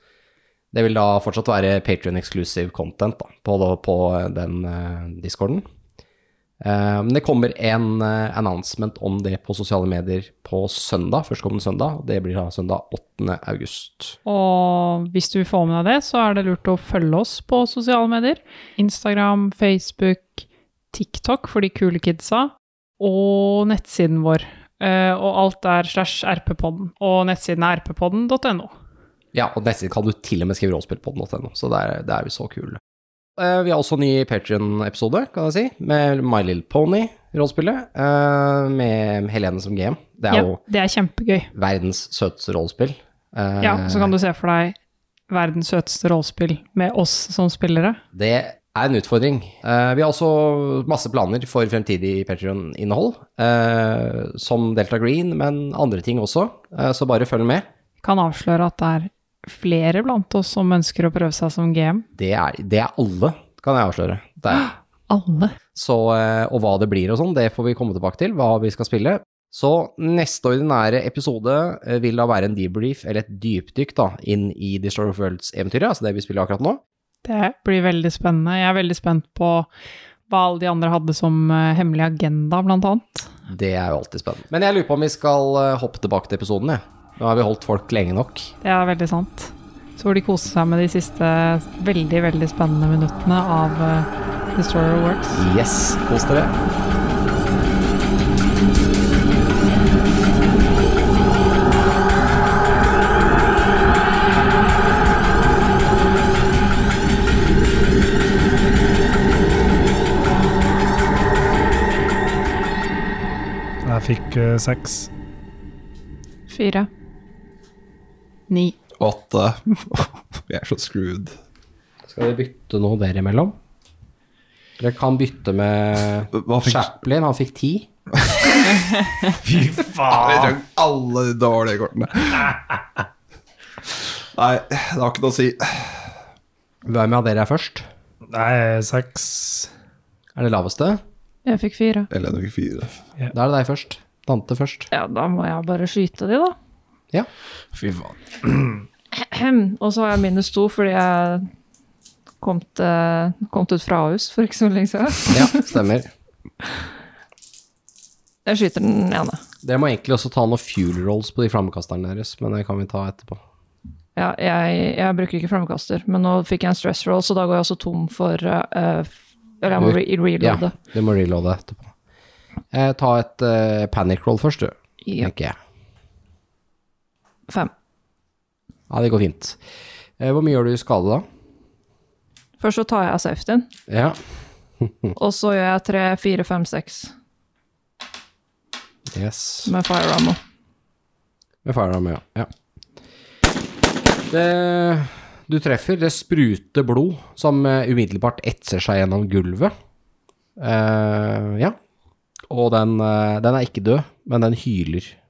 Speaker 2: Det vil da fortsatt være Patrion-exclusive content da, på, på den eh, Discorden. Eh, Men det kommer en eh, announcement om det på sosiale medier på søndag, førstkommende søndag. Det blir da søndag 8. august.
Speaker 1: Og hvis du får med deg det, så er det lurt å følge oss på sosiale medier. Instagram, Facebook, TikTok for de kule kidsa, og nettsiden vår. Eh, og alt er slash rppodden. Og nettsiden er rppodden.no.
Speaker 2: Ja, og nesten kan du til og med skrive råspill på den.no, så det er, det er vi så kule. Eh, Vi har også en ny Patrion-episode, kan jeg si, med My Little Pony-rollespillet, eh, med Helene som GM. Det er
Speaker 1: Ja,
Speaker 2: jo
Speaker 1: det er kjempegøy.
Speaker 2: verdens søteste rollespill. Eh,
Speaker 1: Ja, så kan du se for deg verdens søteste rollespill med oss som spillere.
Speaker 2: Det er en utfordring. Eh, vi har også masse planer for fremtidig Patrion-innhold, eh, som Delta Green, men andre ting også, eh, så bare følg med.
Speaker 1: Kan avsløre at det er flere blant oss som ønsker å prøve seg som GM.
Speaker 2: Det er, det er alle, kan jeg avsløre. Det er.
Speaker 1: Alle.
Speaker 2: Så, eh, og hva det blir og sånn, det får vi komme tilbake til, hva vi skal spille. Så neste ordinære episode eh, vil da være en debrief, eller et dypdykk da, inn i The Story of Worlds-eventyret, altså det vi spiller akkurat nå.
Speaker 1: Det blir veldig spennende. Jeg er veldig spent på hva alle de andre hadde som eh, hemmelig agenda, blant annet.
Speaker 2: Det er jo alltid spennende. Men jeg lurer på om vi skal eh, hoppe tilbake til episoden, jeg. Nå har vi holdt folk lenge nok.
Speaker 1: Det er veldig sant. Så får de kose seg med de siste veldig, veldig spennende minuttene av eh, The Story of Works.
Speaker 2: Yes, kos dere.
Speaker 5: Jeg fikk eh, seks.
Speaker 1: Fire. Ni.
Speaker 3: Åtte. Vi er så screwed.
Speaker 2: Skal vi bytte noe dere imellom? Dere kan bytte med
Speaker 3: Hva fikk-
Speaker 2: Chaplin, han fikk ti.
Speaker 5: Fy faen!
Speaker 3: alle de dårlige kortene. Nei, det har ikke noe å si.
Speaker 2: Hvem av dere er først?
Speaker 5: Nei, seks.
Speaker 2: Er det laveste?
Speaker 1: Jeg fikk fire.
Speaker 3: Helene fikk fire.
Speaker 2: Da er det deg først. Dante først.
Speaker 4: Ja, da må jeg bare skyte de, da.
Speaker 2: Ja.
Speaker 5: Fy faen.
Speaker 4: Og så har jeg minus to fordi jeg kom, til, kom til et frahus for ikke så lenge siden.
Speaker 2: ja, stemmer.
Speaker 4: Jeg skyter den ene.
Speaker 2: Dere må egentlig også ta noen fuel rolls på de flammekasterne deres, men det kan vi ta etterpå.
Speaker 4: Ja, jeg, jeg bruker ikke flammekaster, men nå fikk jeg en stress roll, så da går jeg også tom for eh, f- Eller jeg må re
Speaker 2: Ja,
Speaker 4: reloade.
Speaker 2: du må reloade etterpå. Eh, ta et eh, panic roll først, du.
Speaker 4: Ja.
Speaker 2: Tenker jeg.
Speaker 4: Fem.
Speaker 2: Ja, det går fint. Eh, hvor mye gjør du i skade da?
Speaker 4: Først så tar jeg safetyen,
Speaker 2: Ja.
Speaker 4: og så gjør jeg tre, fire, fem, seks
Speaker 2: Yes.
Speaker 4: med fire ammo.
Speaker 2: Med firearm, ja. ja. Det, du treffer, det spruter blod som eh, umiddelbart etser seg gjennom gulvet. Eh, ja. Og den, eh, den er ikke død, men den hyler. Og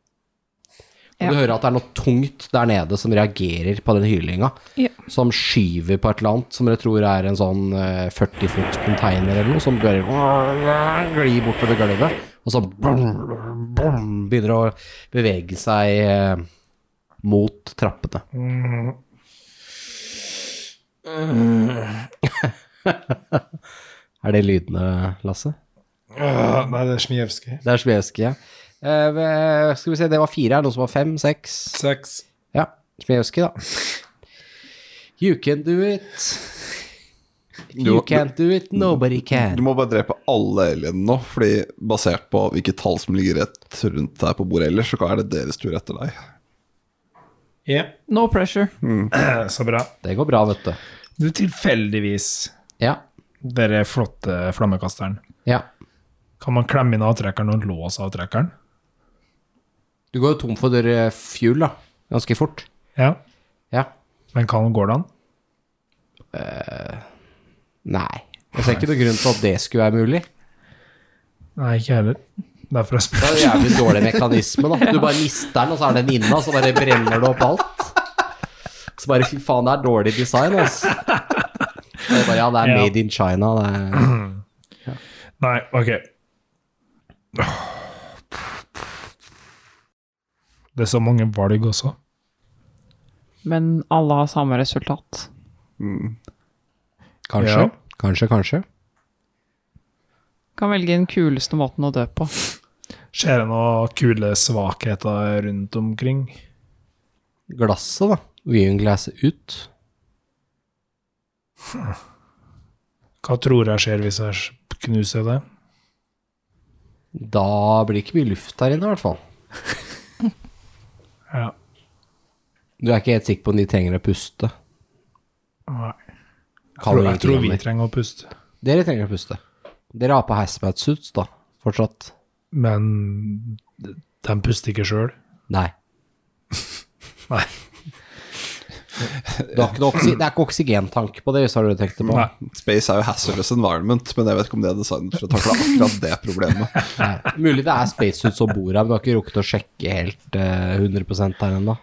Speaker 4: Ja.
Speaker 2: Du hører at det er noe tungt der nede som reagerer på den hylinga.
Speaker 4: Ja.
Speaker 2: Som skyver på et eller annet som dere tror er en sånn eh, 40 fots container eller noe, som bare glir bortover gulvet. Og så begynner å bevege seg eh, mot trappene. Er det lydene, Lasse?
Speaker 5: Ah, Nei, det er Smijevskij.
Speaker 2: Det er Smijevskij, ja. Eh, ve- skal vi se, det var fire her, noen som var fem, seks.
Speaker 5: Seks.
Speaker 2: Ja, Smijevskij, da. You can do it. You
Speaker 3: Du-
Speaker 2: can't do it, nobody
Speaker 3: Du
Speaker 2: can.
Speaker 3: må bare drepe alle alienene nå, fordi basert på hvilke tall som ligger rett rundt her på bordet ellers, så er det deres tur etter deg.
Speaker 5: Ja.
Speaker 4: No pressure.
Speaker 5: Så bra.
Speaker 2: Det går bra, vet du.
Speaker 5: Du, tilfeldigvis,
Speaker 2: Ja,
Speaker 5: dere flotte flammekasteren,
Speaker 2: ja.
Speaker 5: kan man klemme inn avtrekkeren og låse avtrekkeren?
Speaker 2: Du går jo tom for eh, fuel, da. Ganske fort.
Speaker 5: Ja.
Speaker 2: Ja.
Speaker 5: Men kan, går det an?
Speaker 2: Nei. Jeg ser ikke noen grunn til at det skulle være mulig.
Speaker 5: Nei, ikke heller. Derfor jeg
Speaker 2: Det
Speaker 5: spør.
Speaker 2: er jo jævlig dårlig mekanisme, da. Du bare mister den, og så er den inne, og så bare brenner det opp alt. Så bare fy faen, det er dårlig design, altså. Det er bare, ja, det er
Speaker 5: Ja.
Speaker 2: made in China. Det er...
Speaker 5: Nei, ok. Det er så mange valg også.
Speaker 1: Men alle har samme resultat.
Speaker 2: Kanskje.
Speaker 5: Ja.
Speaker 2: Kanskje, kanskje.
Speaker 1: Kan velge den kuleste måten å dø på.
Speaker 5: Ser jeg noen kule svakheter rundt omkring?
Speaker 2: Glasset, da. Viewing glasset ut.
Speaker 5: Hva tror jeg skjer hvis jeg knuser det?
Speaker 2: Da blir det ikke mye luft der inne, i hvert fall.
Speaker 5: Ja.
Speaker 2: Du er ikke helt sikker på om de trenger å puste.
Speaker 5: Nei. Jeg
Speaker 2: Kan
Speaker 5: tror,
Speaker 2: du
Speaker 5: jeg tror
Speaker 2: ingenting om
Speaker 5: vi
Speaker 2: det.
Speaker 5: trenger å puste.
Speaker 2: Dere trenger å puste. Dere har på hazmat suits, da. Fortsatt.
Speaker 5: Men de puster ikke sjøl.
Speaker 2: Nei.
Speaker 5: Nei.
Speaker 2: Det er ikke, noe oksyg det er ikke oksygentanke på det, hvis har du tenkt det på.
Speaker 5: Nei.
Speaker 3: Space er jo hazardous environment, men jeg vet ikke om det er designet for å takle akkurat det problemet.
Speaker 2: Nei. Mulig det er spacesuits og bord her, men du har ikke rukket å sjekke helt eh, 100 her ennå.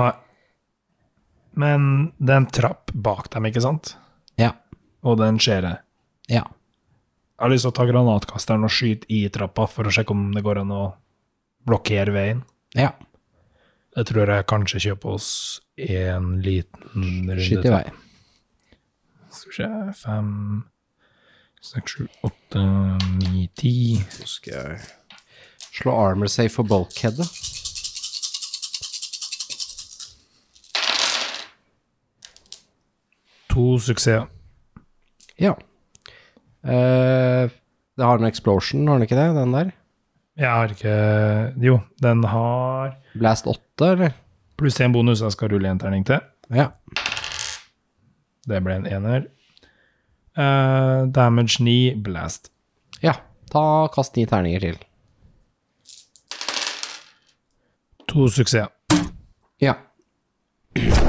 Speaker 5: Nei. Men det er en trapp bak dem, ikke sant?
Speaker 2: Ja.
Speaker 5: Og den ser jeg.
Speaker 2: ja.
Speaker 5: Jeg har lyst til å ta granatkasteren og skyte i trappa for å sjekke om det går an å blokkere veien.
Speaker 2: Ja.
Speaker 5: Jeg tror jeg kanskje kjøper oss en liten runde.
Speaker 2: Skyt i vei.
Speaker 5: Skal vi se Fem, seks, sju, åtte, ni, ti.
Speaker 2: Slå armor safe for bulkheadet.
Speaker 5: To suksesser.
Speaker 2: Ja. Eh, det har den explosion, har den ikke det? Den der?
Speaker 5: Jeg har ikke Jo, den har
Speaker 2: Blast 8, eller?
Speaker 5: pluss én bonus. Jeg skal rulle en terning til.
Speaker 2: Ja.
Speaker 5: Det ble en ener. Eh, damage 9, blast.
Speaker 2: ja. Ta Kast ni terninger til.
Speaker 5: To suksesser.
Speaker 2: Ja.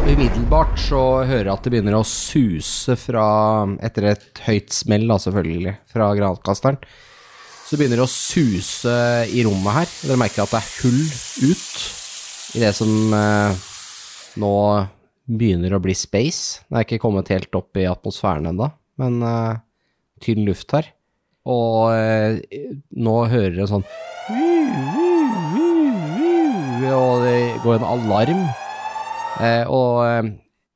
Speaker 2: Umiddelbart så hører jeg at det begynner å suse fra Etter et høyt smell, da, selvfølgelig, fra granatkasteren. Så begynner det å suse i rommet her. Dere merker at det er hull ut i det som eh, nå begynner å bli space. Det er ikke kommet helt opp i atmosfæren ennå, men eh, tynn luft her. Og eh, nå hører dere sånn og det går en alarm. Eh, og eh,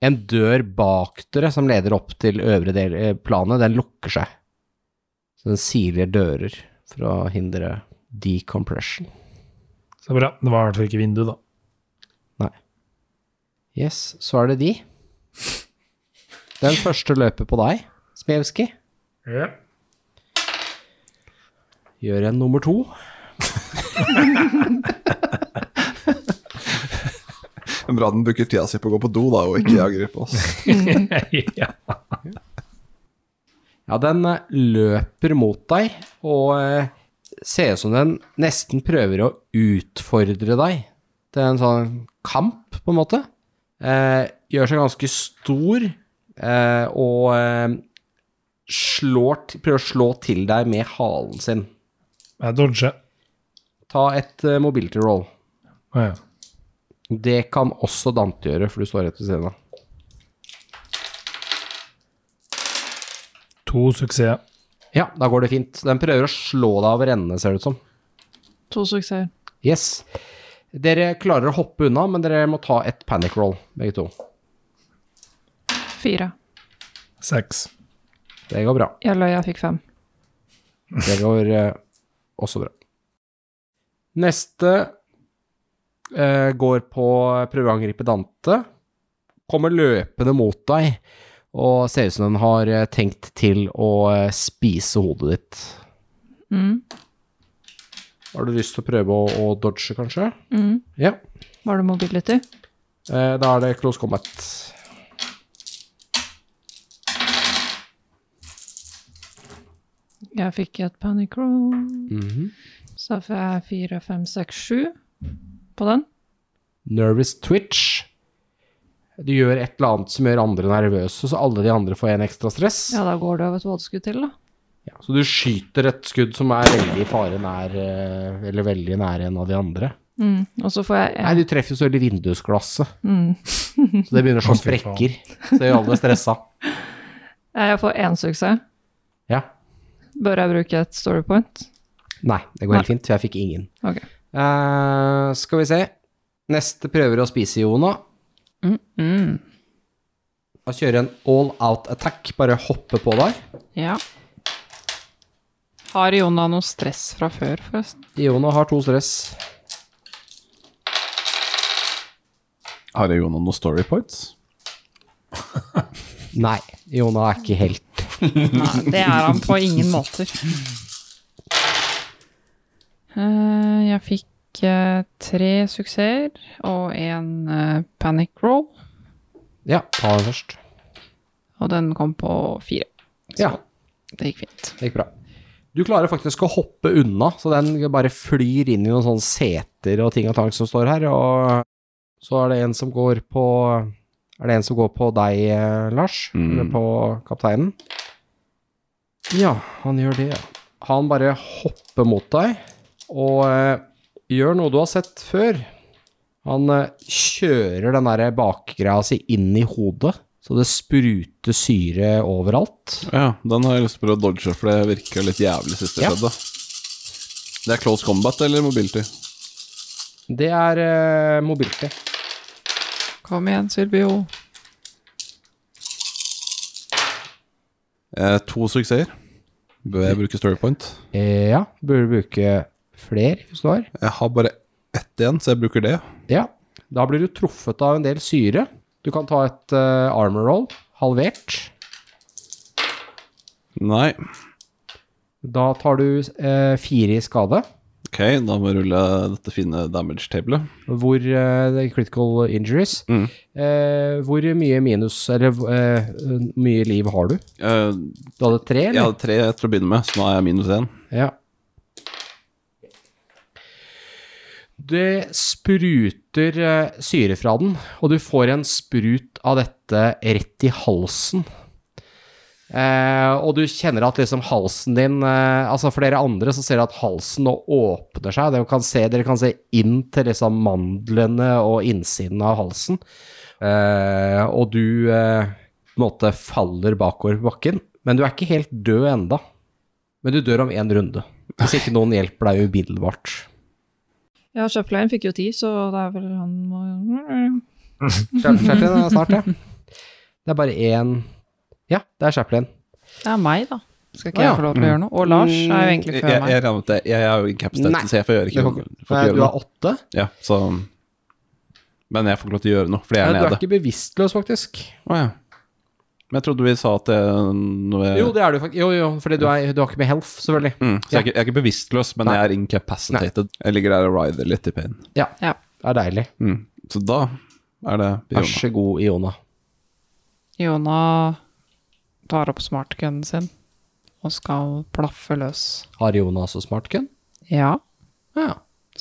Speaker 2: en dør bak dere som leder opp til øvre del eh, planet, den lukker seg. Så den siler dører for å hindre decompression.
Speaker 5: Så bra. Det var i hvert fall ikke vindu, da.
Speaker 2: Yes, så er det de. Den første løper på deg, Smevski.
Speaker 5: Ja.
Speaker 2: Gjør en nummer to.
Speaker 3: Men Bra den bruker tida si på å gå på do, da, og ikke angrer på oss.
Speaker 5: ja.
Speaker 2: Ja, den eh, løper mot deg og eh, ser ut som den nesten prøver å utfordre deg. Det er en sånn kamp, på en måte. Eh, gjør seg ganske stor eh, og eh, slår, t- prøver å slå til deg med halen sin.
Speaker 5: Jeg dodger.
Speaker 2: Ta et eh, mobility roll.
Speaker 5: Å ja.
Speaker 2: Det kan også Dante gjøre, for du står rett ved siden av.
Speaker 5: To suksesser.
Speaker 2: Ja, da går det fint. Den prøver å slå deg over ende, ser det ut som.
Speaker 4: To suksesser.
Speaker 2: Yes. Dere klarer å hoppe unna, men dere må ta et panic roll, begge to.
Speaker 4: Fire.
Speaker 5: Seks.
Speaker 2: Det går bra.
Speaker 4: Jeg løy, jeg fikk fem.
Speaker 2: Det går eh, også bra. Neste eh, går på prøve å angripe Dante. Kommer løpende mot deg og ser ut som den har eh, tenkt til å eh, spise hodet ditt.
Speaker 4: Mm.
Speaker 2: Har du lyst til å prøve å, å dodge, kanskje?
Speaker 4: Mm.
Speaker 2: Ja.
Speaker 4: Var det mobility?
Speaker 2: Eh, Da er det close combat.
Speaker 4: Jeg fikk et panic roll.
Speaker 2: Mhm.
Speaker 4: Så får jeg fire, fem, seks, sju på den.
Speaker 2: Nervous twitch. Du gjør et eller annet som gjør andre nervøse, så alle de andre får en ekstra stress.
Speaker 4: Ja, da går det over et vådeskudd til, da.
Speaker 2: Ja, så du skyter et skudd som er veldig i fare nær eh, Eller veldig nær en av de andre.
Speaker 4: Mm. Og så får jeg
Speaker 2: Nei, du treffer jo så veldig vindusglasset,
Speaker 4: mm.
Speaker 2: så det begynner å slå
Speaker 5: Å, fy faen.
Speaker 2: sprekker. Så gjør alle stressa.
Speaker 4: Jeg får én suksess.
Speaker 2: Ja.
Speaker 4: Bør jeg bruke et story point?
Speaker 2: Nei, det går helt fint. for Jeg fikk ingen.
Speaker 4: Ok.
Speaker 2: Eh, skal vi se. Neste prøver å spise Jona.
Speaker 1: Mm.
Speaker 2: Da kjører en all out attack. Bare hoppe på deg.
Speaker 1: Ja. Har Jonna noe stress fra før, forresten?
Speaker 2: Jona har to stress.
Speaker 3: Har jeg Jonan noen story points?
Speaker 2: Nei, Jona er ikke helt
Speaker 1: Nei, det er han på ingen måter. Eh, Jeg fikk eh, tre suksesser og en eh, panic roll,
Speaker 2: Ja, ta den først.
Speaker 1: og den kom på fire.
Speaker 2: Ja,
Speaker 1: Det gikk fint.
Speaker 2: det gikk bra. Du klarer faktisk å hoppe unna, så den bare flyr inn i noen sånne seter og ting og tang som står her, og så er det en som går på Er det en som går på deg, eh, Lars?
Speaker 3: Mm.
Speaker 2: Eller på kapteinen? Ja, han gjør det, ja. Han bare hopper mot deg og eh, gjør noe du har sett før. Han eh, kjører den der bakgreia si inn i hodet, så det spruter syre overalt.
Speaker 3: Ja, den har jeg lyst til å dodge, for det virker litt jævlig sist det
Speaker 2: Ja.
Speaker 3: skjedde. Det er close combat eller mobility?
Speaker 2: Det er uh, mobility.
Speaker 1: Kom igjen, Sylvio.
Speaker 3: Eh, to suksesser. Bør jeg bruke story point?
Speaker 2: Eh, ja, burde du bruke flere hvis du har.
Speaker 3: Jeg har bare ett igjen, så jeg bruker det.
Speaker 2: Ja. Da blir du truffet av en del syre. Du kan ta et eh, armor roll, halvert.
Speaker 3: Nei.
Speaker 2: Da tar du eh, fire i skade,
Speaker 3: Ok, da må jeg rulle dette fine damage-tablet.
Speaker 2: hvor eh, det er critical injuries.
Speaker 3: Mm.
Speaker 2: Eh, hvor mye minus, eller eh, mye liv har du?
Speaker 3: Eh,
Speaker 2: Du hadde tre,
Speaker 3: jeg
Speaker 2: eller?
Speaker 3: hadde tre til å begynne med, så nå er jeg minus én.
Speaker 2: Ja. Det spruter eh, syre fra den, og du får en sprut av dette rett i halsen. Eh, og du kjenner at liksom halsen din eh, Altså for dere andre så ser dere at halsen nå åpner seg. Dere kan se, dere kan se inn til liksom mandlene og innsiden av halsen. Eh, og du eh, på en måte faller bakover på bakken. Men du er ikke helt død enda. Men du dør om én runde. Hvis ikke noen hjelper deg umiddelbart.
Speaker 4: Ja, Chaplin fikk jo ti, så det er vel han må
Speaker 2: Chaplin er snart, ja. Det er bare én Ja, det er Chaplin.
Speaker 1: Det er meg, da. Skal
Speaker 2: Å,
Speaker 1: ikke
Speaker 2: ja. Mm.
Speaker 1: jeg få lov til å gjøre noe? Og Lars er jo egentlig før
Speaker 3: jeg,
Speaker 1: meg.
Speaker 3: jeg, regner med at jeg, jeg er jo
Speaker 2: Nei.
Speaker 3: incapstated, så jeg får gjøre
Speaker 2: Du,
Speaker 3: ikke,
Speaker 2: får,
Speaker 3: får ikke
Speaker 2: nei,
Speaker 3: gjøre
Speaker 2: du har
Speaker 3: noe.
Speaker 2: åtte.
Speaker 3: Ja, så Men jeg får ikke lov til å gjøre noe, fordi jeg
Speaker 2: Nei,
Speaker 3: er
Speaker 2: du er
Speaker 3: nede.
Speaker 2: ikke bevisstløs, faktisk.
Speaker 3: Å ja. Men jeg trodde vi sa at eh, jeg, når jeg,
Speaker 2: Jo, det er du faktisk. Jo, jo, fordi du, er, du har ikke med health, selvfølgelig.
Speaker 3: mm, Så jeg, er ikke- jeg er ikke bevisstløs, men
Speaker 2: Nei.
Speaker 3: jeg er incapacitated. Jeg ligger der og rider litt i pain.
Speaker 1: Ja.
Speaker 2: Det er deilig.
Speaker 3: Mm. Så da er det
Speaker 2: Vær
Speaker 3: Biona.
Speaker 2: så god, Iona.
Speaker 1: Jonna tar opp smartgunnen sin og skal plaffe løs.
Speaker 2: Har Iona også smartgun?
Speaker 1: Ja,
Speaker 2: Ja.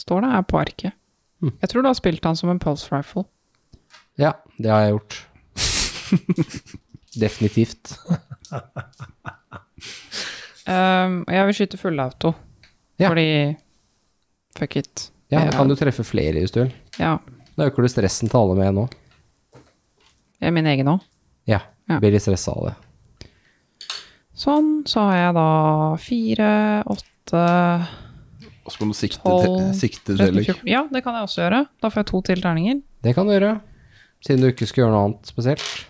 Speaker 1: står det her på arket.
Speaker 2: Mm.
Speaker 1: Jeg tror du har spilt han som en pulse rifle.
Speaker 2: ja. Det har jeg gjort. Definitivt.
Speaker 1: Ehm, og jeg vil skyte fullauto,
Speaker 2: Ja.
Speaker 1: fordi fuck it.
Speaker 2: Ja,
Speaker 1: Jeg-
Speaker 2: kan du treffe flere hvis du vil.
Speaker 1: ja,
Speaker 2: Da øker du stressen til alle med nå.
Speaker 1: jeg er min egen òg.
Speaker 2: Ja.
Speaker 1: Ja.
Speaker 2: Blir litt stressa av det.
Speaker 1: Sånn, så har jeg da fire, åtte
Speaker 3: Og så kan du sikte,
Speaker 1: Tolv,
Speaker 3: til- sikte
Speaker 1: tretten,
Speaker 3: tillegg.
Speaker 1: fjorten. Ja, det kan jeg også gjøre. Da får jeg to til terninger.
Speaker 2: Det kan du gjøre, siden du ikke skal gjøre noe annet spesielt.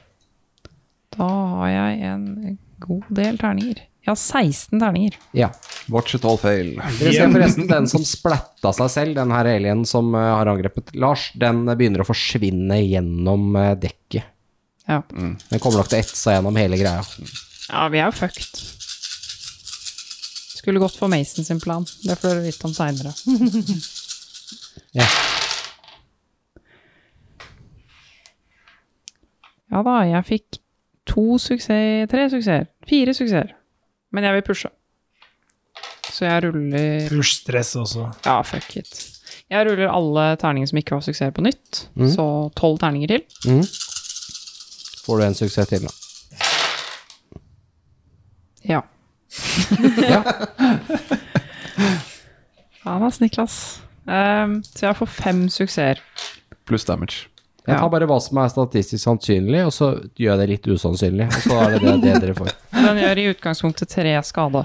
Speaker 1: Da har jeg en god del terninger. Jeg har 16 terninger.
Speaker 2: Ja.
Speaker 3: Watch it all fail.
Speaker 2: Dere ser forresten den som splatta seg selv, den her alienen som eh, har angrepet Lars, den eh, begynner å forsvinne gjennom eh, dekket.
Speaker 1: Ja,
Speaker 2: Den kommer nok til å etse seg gjennom hele greia.
Speaker 1: ja vi er jo fucked. Skulle gått for Mason sin plan. Det får dere vite om seinere.
Speaker 2: Ja.
Speaker 1: Ja da, jeg fikk to suksess, tre suksesser, fire suksesser. Men jeg vil pushe. Så jeg ruller
Speaker 5: Push stress også.
Speaker 1: Ja, fuck it. Jeg ruller alle terninger som ikke var suksess, på nytt. Så tolv terninger til.
Speaker 2: Mm. Får du en suksess til, da.
Speaker 1: Ja.
Speaker 2: Ja.
Speaker 1: Faen ass, Niklas. Ehm, så jeg får fem suksesser.
Speaker 3: Pluss damage.
Speaker 2: Jeg tar bare hva som er statistisk sannsynlig, og så gjør jeg det litt usannsynlig. Og så er det det, det dere får.
Speaker 1: Den gjør i utgangspunktet tre skade.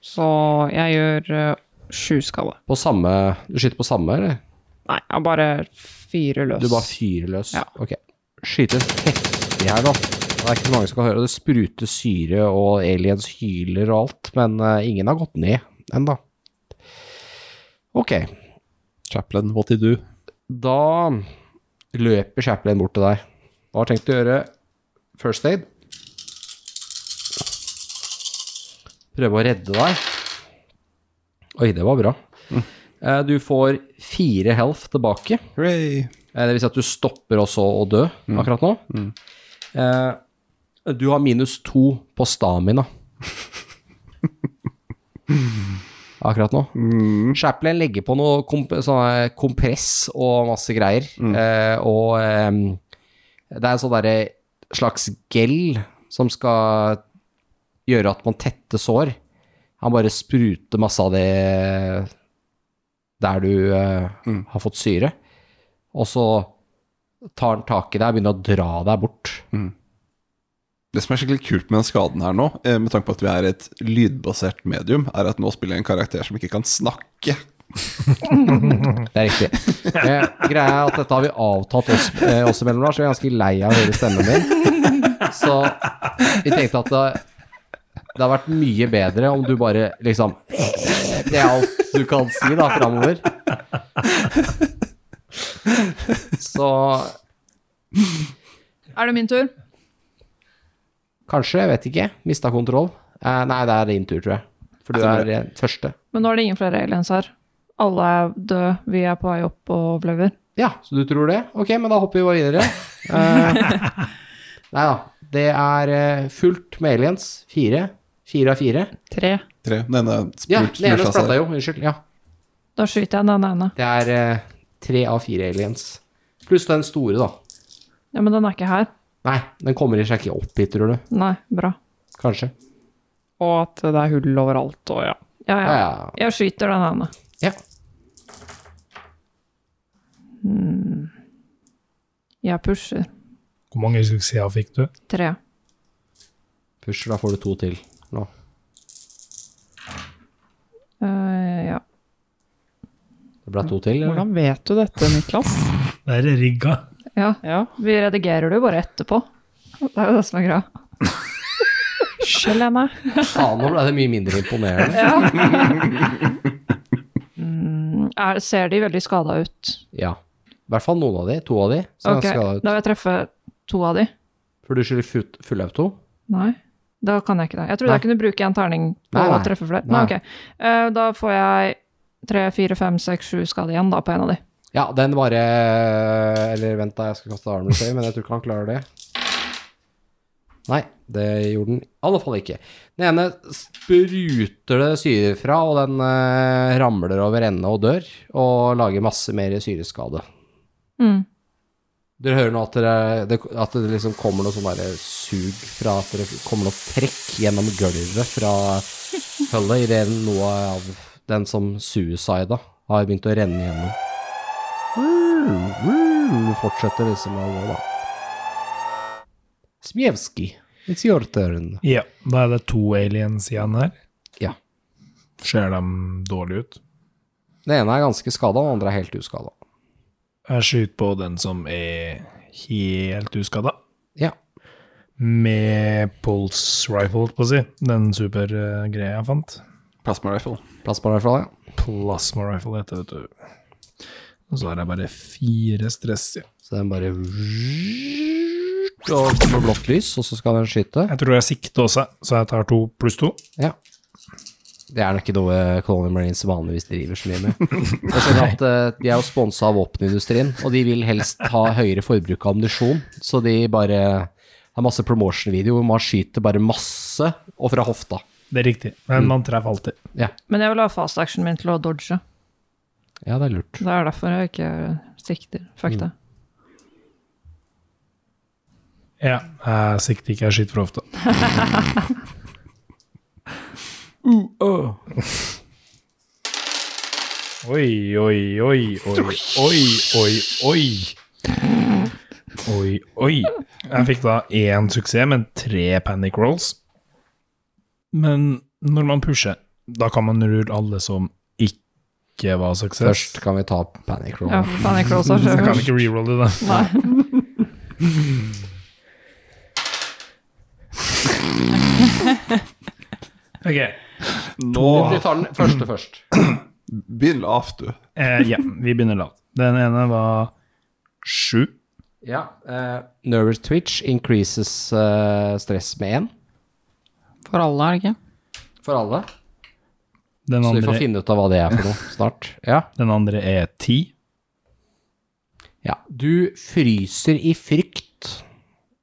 Speaker 1: Så jeg gjør eh, sju skade.
Speaker 2: På samme Du skyter på samme, eller?
Speaker 1: Nei, jeg bare fyrer løs.
Speaker 2: Du bare fyrer løs?
Speaker 1: Ja.
Speaker 2: Ok. Skytes heftig her, da. Det er ikke så mange som kan høre. Det spruter syre, og aliens hyler og alt, men eh, ingen har gått ned ennå. Ok,
Speaker 3: Chaplain, what did you do?
Speaker 2: da løper Chaplin bort til deg. Da har jeg tenkt å gjøre first aid. Prøve å redde deg. Oi, det var bra. Eh, Du får fire health tilbake.
Speaker 3: Hooray!
Speaker 2: Eh, Det vil si at du stopper også å dø akkurat nå. Eh, du har minus to på stamina. akkurat nå. Chaplin legger på noe komp sånne kompress og masse greier. Eh, og ehm, det er en sånn derre slags gel som skal gjøre at man tetter sår. Han bare spruter masse av det der du eh, har fått syre. Og så tar han tak i deg og begynner å dra deg bort.
Speaker 3: Det som er skikkelig kult med den skaden her nå, eh, med tanke på at vi er et lydbasert medium, er at nå spiller jeg en karakter som ikke kan snakke.
Speaker 2: Det er riktig. Eh, greia er at dette har vi avtalt oss, eh, oss imellom, Lars, så jeg er ganske lei av å høre stemmen din. Så vi tenkte at det, det har vært mye bedre om du bare liksom Det er alt du kan si da framover. Så
Speaker 4: Er det min tur?
Speaker 2: kanskje, jeg vet ikke, mista kontroll. Eh, nei, det er din tur, tror jeg. For du er eh, første.
Speaker 4: Men nå er det ingen flere aliens her. Alle er døde, vi er på vei opp og overlever.
Speaker 2: Ja, så du tror det? Ok, men da hopper vi bare videre. Eh, nei da. Det er eh, fullt med aliens. Fire. Fire av fire.
Speaker 1: Tre.
Speaker 3: Tre. Den ene
Speaker 2: Ja,
Speaker 3: spurt-
Speaker 2: den ene
Speaker 3: smurte seg.
Speaker 2: splatta jo. Unnskyld. Ja.
Speaker 4: Da skyter jeg den ene.
Speaker 2: Det er eh, tre av fire aliens. Pluss den store, da.
Speaker 4: Ja, men den er ikke her.
Speaker 2: Nei, den kommer seg ikke opp hit, tror du.
Speaker 4: Nei, bra.
Speaker 2: Kanskje.
Speaker 1: Og at det er hull overalt, og ja.
Speaker 4: Ja,
Speaker 2: Ja,
Speaker 4: ja.
Speaker 2: ja.
Speaker 4: Jeg skyter den ene.
Speaker 2: ja.
Speaker 4: Jeg pusher.
Speaker 5: Hvor mange suksesser fikk du?
Speaker 4: Tre.
Speaker 2: Pusher, da får du to til nå.
Speaker 4: Eh, ja.
Speaker 2: Det ble to til, eller?
Speaker 1: Hvordan vet du dette, Niklas?
Speaker 5: Det er rigga.
Speaker 4: ja.
Speaker 1: Ja.
Speaker 4: Vi redigerer det jo bare etterpå. Det er jo det som er greia.
Speaker 1: Skjell henne.
Speaker 2: Faen, nå ble det mye mindre imponerende.
Speaker 4: Er, ser de veldig skada ut?
Speaker 2: Ja. I hvert fall noen av de. To av de. Som
Speaker 4: Ok,
Speaker 2: er skada ut.
Speaker 4: Da vil jeg treffe to av de.
Speaker 2: For du skylder full- fullauto?
Speaker 4: Nei, da kan jeg ikke det. Jeg trodde
Speaker 2: Nei.
Speaker 4: jeg kunne bruke en terning på
Speaker 2: Nei,
Speaker 4: å
Speaker 2: nei.
Speaker 4: treffe flere.
Speaker 2: Nei.
Speaker 4: Nei, ok. Eh, da får jeg tre, fire, fem, seks, sju skade igjen da på en av de.
Speaker 2: Ja, den bare Eller vent, da, jeg skal kaste armen save, men jeg tror ikke han klarer det. Nei, det gjorde den i alle fall ikke. Den ene spruter det syre fra, og den eh, ramler over ende og dør, og lager masse mer syreskade.
Speaker 4: Mm.
Speaker 2: Dere hører nå at, dere, det, at det liksom kommer noe sånn derre sug fra at det kommer noe trekk gjennom gulvet fra hullet idet noe av den som suicida har begynt å renne gjennom. Du fortsetter liksom å gå, da. Smjevskij, it's your turn.
Speaker 5: Ja, da er det to aliens igjen her.
Speaker 2: Ja.
Speaker 5: Ser de dårlig ut?
Speaker 2: Den ene er ganske skada, den andre er helt uskada.
Speaker 5: Jeg skyter på den som er helt uskada.
Speaker 2: Ja.
Speaker 5: Med pulse rifle, holdt på å si. Den supergreia jeg fant.
Speaker 3: Plasma rifle.
Speaker 2: Plass på deg fra deg.
Speaker 5: Plasma rifle heter det, vet du. Og så har jeg bare fire stress. ja.
Speaker 2: Så den bare Og kommer blått lys, og så skal den skyte.
Speaker 5: Jeg tror jeg sikter også, så jeg tar to pluss to.
Speaker 2: Ja. Det er nok ikke noe eh, Colony Marines vanligvis driver så mye med. Jeg skjønner at eh, De er jo sponsa av våpenindustrien, og de vil helst ha høyere forbruk av ammunisjon, så de bare har masse promotion-videoer hvor man skyter bare masse, og fra hofta.
Speaker 5: Det er riktig, men man treffer alltid.
Speaker 2: Ja,
Speaker 4: Men jeg vil ha fast actionen min til å dodge.
Speaker 2: ja det er lurt.
Speaker 4: Det er derfor jeg ikke sikter.
Speaker 2: Mm.
Speaker 4: Fuck det.
Speaker 5: Ja, jeg sikter ikke, jeg skyter for ofte. Oi, oi, oi, oi, oi, oi, oi. Oi, oi. Jeg fikk da én suksess, men tre panic rolls. Men når man pusher, da kan man rulle alle som ikke var suksess.
Speaker 2: Først kan vi ta panic roll.
Speaker 1: Ja, faen, jeg closer
Speaker 5: Så jeg
Speaker 1: selv.
Speaker 5: kan ikke rerolle det.
Speaker 1: Nei.
Speaker 5: Ok,
Speaker 3: Nå
Speaker 2: Vi tar den første først.
Speaker 3: Begynn lavt, du.
Speaker 5: eh, ja, vi begynner lavt. Den ene var sju.
Speaker 2: Ja. eh, nervous twitch increases eh, stress med én
Speaker 1: For alle, er det ikke?
Speaker 2: for alle.
Speaker 5: Den
Speaker 2: Så vi får
Speaker 5: andre,
Speaker 2: finne ut av hva det er for noe snart. Ja.
Speaker 5: den andre er ti.
Speaker 2: ja. Du fryser i frykt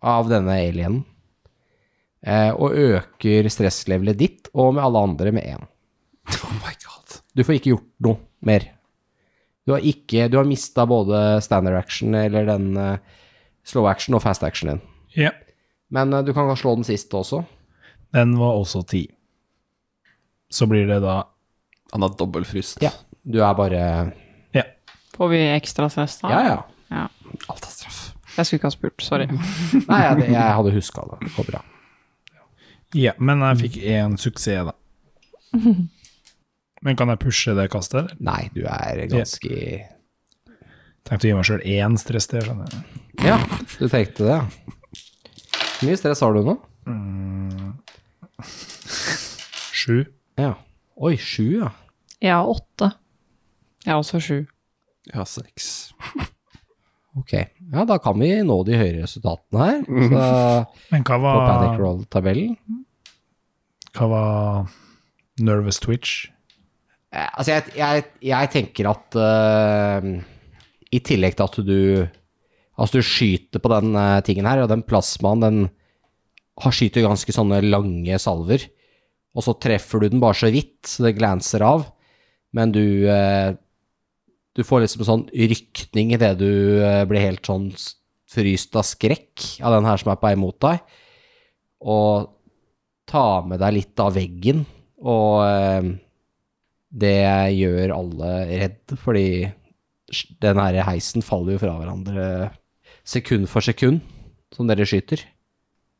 Speaker 2: av denne alienen. eh, og øker stresslevelet ditt og med alle andre med én.
Speaker 3: Oh my god.
Speaker 2: Du får ikke gjort noe mer. Du har, ikke- du har mista både standard action eller den eh, slow action og fast action din.
Speaker 5: Ja.
Speaker 2: Men eh, du kan slå den siste også.
Speaker 5: Den var også ti. Så blir det da
Speaker 3: Han er dobbeltfryst.
Speaker 2: Ja. Du er bare
Speaker 5: Ja.
Speaker 1: Får vi ekstra stress
Speaker 3: Ah,
Speaker 1: da?
Speaker 2: Ja, ja.
Speaker 1: Ja.
Speaker 3: Alt er straff.
Speaker 1: Jeg skulle ikke ha spurt, sorry.
Speaker 2: Nei, jeg, jeg hadde huska det. Det går bra.
Speaker 5: ja men jeg fikk én suksess, da. Men kan jeg pushe det kastet, eller?
Speaker 2: Nei, du er ganske
Speaker 5: Tenkte å gi meg sjøl én stress til, skjønner jeg.
Speaker 2: Ja, du tenkte det, ja. Hvor mye stress har du nå?
Speaker 5: Sju.
Speaker 2: Ja. Oi, sju, ja.
Speaker 4: Jeg har åtte.
Speaker 1: Jeg er også sju.
Speaker 3: Jeg har seks.
Speaker 2: Ok. Ja, da kan vi nå de høye resultatene her. Så
Speaker 5: Men hva
Speaker 2: på panic
Speaker 5: var,
Speaker 2: roll-tabellen.
Speaker 5: hva var nervous twitch?
Speaker 2: Eh, Altså, jeg, jeg, jeg tenker at eh, i tillegg til at du Altså, du skyter på den eh, tingen her, og den plasmaen, den har skyter ganske sånne lange salver. Og så treffer du den bare så vidt, så det glanser av. Men du eh, Du får liksom sånn rykning idet du eh, blir helt sånn s- fryst av skrekk av den her som er på vei mot deg. Og tar med deg litt av veggen, og eh, det gjør alle redd, fordi den her heisen faller jo fra hverandre sekund for sekund som dere skyter.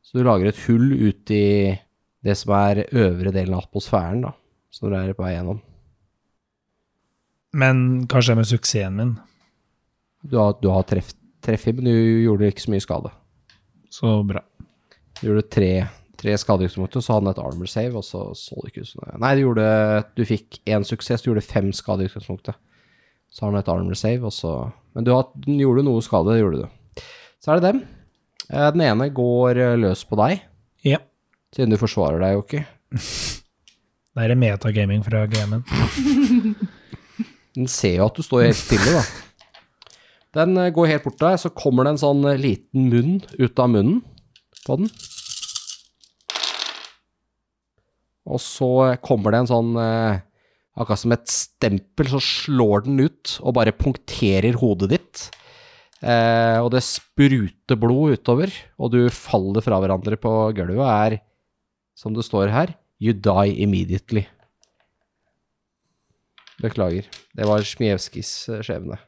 Speaker 2: Så du lager et hull ut i det som er øvre delen av atmosfæren, da, som dere er på vei gjennom.
Speaker 5: Men hva skjer med suksessen min?
Speaker 2: Du har, du har treff, treff i, men du gjorde ikke så mye skade.
Speaker 5: Så bra.
Speaker 2: Du gjorde tre, tre skadeutgangspunkter, så hadde han et armor save, og så så det ikke ut som det. Nei, du, gjorde, du fikk én suksess, du gjorde fem skade i utgangspunktet. Så har han et armor save, og så Men du har, den gjorde noe skade, det gjorde du. Så er det dem. Eh, Den ene går eh, løs på deg,
Speaker 5: Ja.
Speaker 2: siden du forsvarer deg jo ikke.
Speaker 5: Det er metagaming fra gamen.
Speaker 2: Den ser jo at du står helt stille, da. Den eh, går helt bort til deg, så kommer det en sånn eh, liten munn ut av munnen på den. Og så eh, kommer det en sånn eh, Akkurat som et stempel, så slår den ut og bare punkterer hodet ditt. Eh, og det spruter blod utover, og du faller fra hverandre på gulvet. Er, som det står her, you die immediately. Beklager. Det var Smijevskijs eh, skjebne.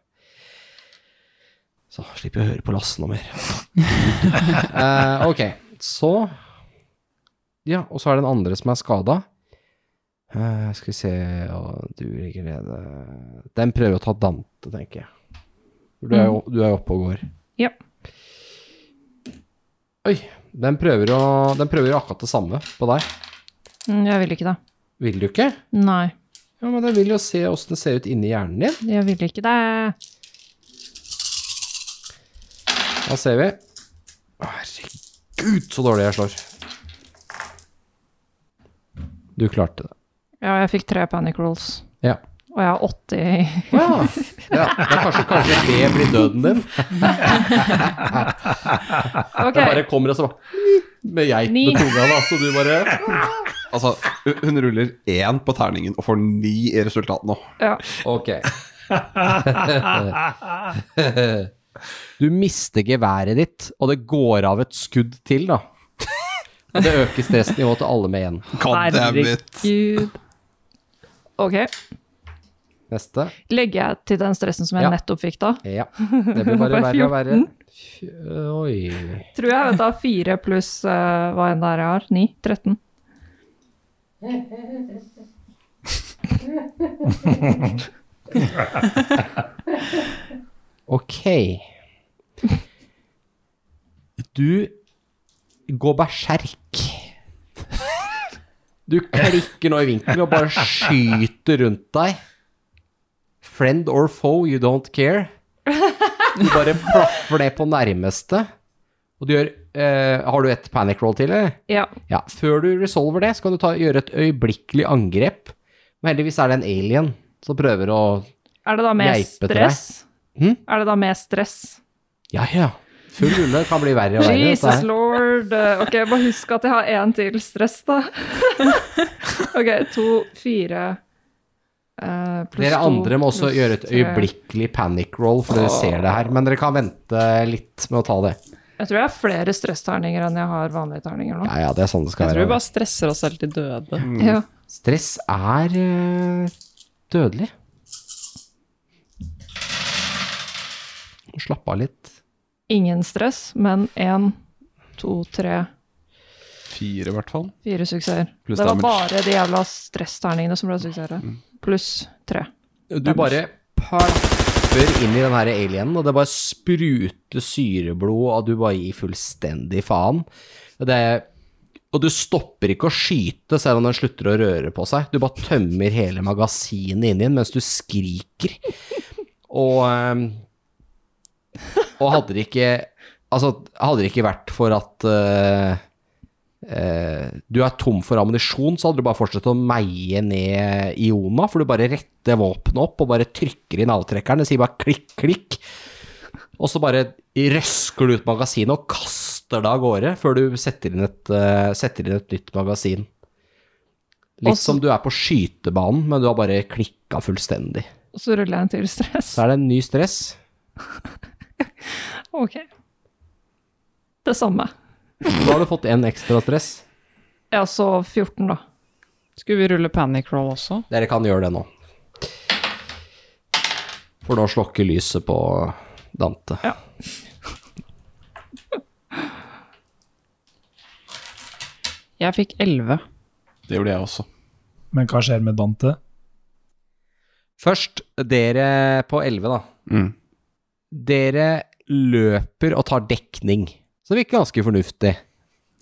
Speaker 2: Så slipper jeg å høre på Lasse noe mer. Eh, ok, så Ja, og så er det den andre som er skada. Eh, skal vi se Å, Du ligger nede Den prøver å ta Dante, tenker jeg. For Du er jo du er jo oppe og går.
Speaker 4: Ja.
Speaker 2: Oi. Den prøver, å, den prøver akkurat det samme på deg.
Speaker 4: Mm, Jeg vil ikke det.
Speaker 2: Vil du ikke?
Speaker 4: Nei,
Speaker 2: Ja, men den vil jo se åssen det ser ut inni hjernen din.
Speaker 4: jeg vil ikke det.
Speaker 2: Da ser vi. Herregud, så dårlig jeg slår. Du klarte det.
Speaker 4: Ja, jeg fikk tre panic rolls,
Speaker 2: Ja.
Speaker 4: og jeg har åtte i
Speaker 2: ja. det er kanskje, kanskje det blir døden din.
Speaker 4: Ok,
Speaker 2: Det bare kommer og så bare Med geit
Speaker 4: Ni.
Speaker 2: med tunga, da. Så du bare
Speaker 3: Altså, hun- hun ruller én på terningen og får ni i resultat nå.
Speaker 4: ja.
Speaker 2: Ok. Du mister geværet ditt, og det går av et skudd til, da. Og det øker stressnivået til alle med igjen.
Speaker 3: God damn it.
Speaker 4: Gud. Ok.
Speaker 2: Neste.
Speaker 4: Legger jeg til den stressen som jeg
Speaker 2: Ja.
Speaker 4: nettopp fikk da?
Speaker 2: Ja. Det blir bare
Speaker 4: Bare
Speaker 2: verre og verre. Fj- Oi.
Speaker 4: Tror jeg vet da, fire pluss eh, hva enn det er jeg har. Ni? 13.
Speaker 2: Ok. Du går berserk. Du klikker nå i vinkelen og bare skyter rundt deg. Friend or foe, you don't care. Du bare plaffer ned på nærmeste. Og du gjør eh, Har du et panic roll til, eller?
Speaker 4: Ja.
Speaker 2: Ja, før du resolver det, så kan du ta, gjøre et øyeblikkelig angrep. Men heldigvis er det en alien som prøver å
Speaker 4: Er det da mer
Speaker 2: Geipe til deg.
Speaker 4: stress?
Speaker 2: Hm?
Speaker 4: Er det da mer stress?
Speaker 2: Ja, ja. Full rulle kan bli verre og verre. dette
Speaker 4: Jesus
Speaker 2: her.
Speaker 4: lord. eh, Ok, bare husk at jeg har én til stress, da. ok, to, fire eh, pluss
Speaker 2: Dere
Speaker 4: to,
Speaker 2: andre må også
Speaker 4: pluss
Speaker 2: gjøre et
Speaker 4: tre.
Speaker 2: øyeblikkelig panic roll, for dere ser det her. Men dere kan vente litt med å ta det.
Speaker 4: Jeg tror jeg har flere stressterninger enn jeg har vanlige terninger nå.
Speaker 2: Ja, ja, det er sånn det skal
Speaker 1: Jeg tror vi
Speaker 2: være.
Speaker 1: bare stresser oss selv til døde.
Speaker 2: Mm.
Speaker 4: Ja.
Speaker 2: Stress er eh, dødelig. Slapp av litt.
Speaker 4: Ingen stress, men én, to, tre,
Speaker 3: Fire, i hvert fall.
Speaker 4: fire suksesser.
Speaker 3: Pluss
Speaker 4: det var
Speaker 3: damage.
Speaker 4: bare de jævla stressterningene som ble suksesser.
Speaker 2: Mm.
Speaker 4: Pluss tre.
Speaker 2: Du bare plaffer inn i den her alienen, og det bare spruter syreblod, og du bare gir fullstendig faen. Og Det, og du stopper ikke å skyte selv om den slutter å røre på seg. Du bare tømmer hele magasinet inni den mens du skriker. Og ehm, Og hadde det ikke Altså, hadde det ikke vært for at eh, eh, du er tom for ammunisjon, så hadde du bare fortsatt å meie ned Iona, for du bare retter våpenet opp og bare trykker inn avtrekkeren. Det sier bare klikk, klikk. Og så bare røsker du ut magasinet og kaster det av gårde før du setter inn et, eh, setter inn et nytt magasin. Litt
Speaker 4: Og så-
Speaker 2: som du er på skytebanen, men du har bare klikka fullstendig.
Speaker 4: Og så ruller jeg en til stress.
Speaker 2: Så er det en ny stress.
Speaker 4: Ok. Det samme.
Speaker 2: Da har du fått en ekstra stress.
Speaker 4: Ja, så 14, da.
Speaker 1: Skulle vi rulle panic roll også?
Speaker 2: Dere kan gjøre det nå. For nå slokker lyset på Dante.
Speaker 4: Ja.
Speaker 1: Jeg fikk 11.
Speaker 3: Det gjorde jeg også.
Speaker 5: Men hva skjer med Dante?
Speaker 2: Først, dere på 11, da.
Speaker 3: Mm.
Speaker 2: Dere løper og tar dekning. Så det virker ganske fornuftig.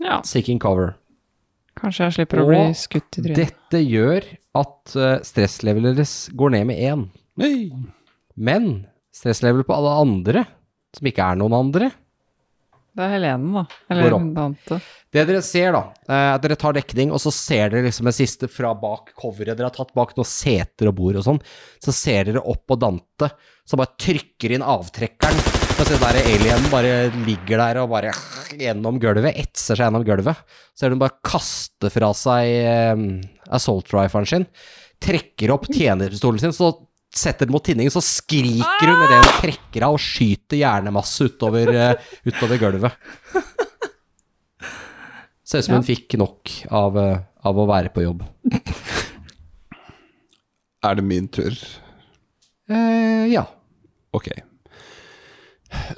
Speaker 1: Ja,
Speaker 2: Seeking cover.
Speaker 1: kanskje jeg slipper å bli
Speaker 2: Og
Speaker 1: skutt i trynet.
Speaker 2: Dette gjør at eh, stresslevelet deres går ned med én.
Speaker 3: Hey.
Speaker 2: Men stresslevelet på alle andre, som ikke er noen andre,
Speaker 1: Det er Helene, da.
Speaker 2: Går
Speaker 1: Eller
Speaker 2: opp.
Speaker 1: Dante.
Speaker 2: Det dere ser, da, er at dere tar dekning, og så ser dere liksom det siste fra bak coveret dere har tatt bak noen seter og bord og sånn. Så ser dere opp på Dante, som bare trykker inn avtrekkeren. Og så den der alienen bare ligger der og bare gjennom gulvet, etser seg gjennom gulvet. Så ser du den bare kaste fra seg eh, assault riflen sin, trekker opp tjenerpistolen sin, så setter den mot tinningen, så skriker hun idet hun trekker av og skyter hjernemasse utover, eh, utover gulvet. Ser ut som hun fikk nok av, eh, av å være på jobb.
Speaker 3: Er det min tur?
Speaker 2: Eh, ja.
Speaker 3: Ok.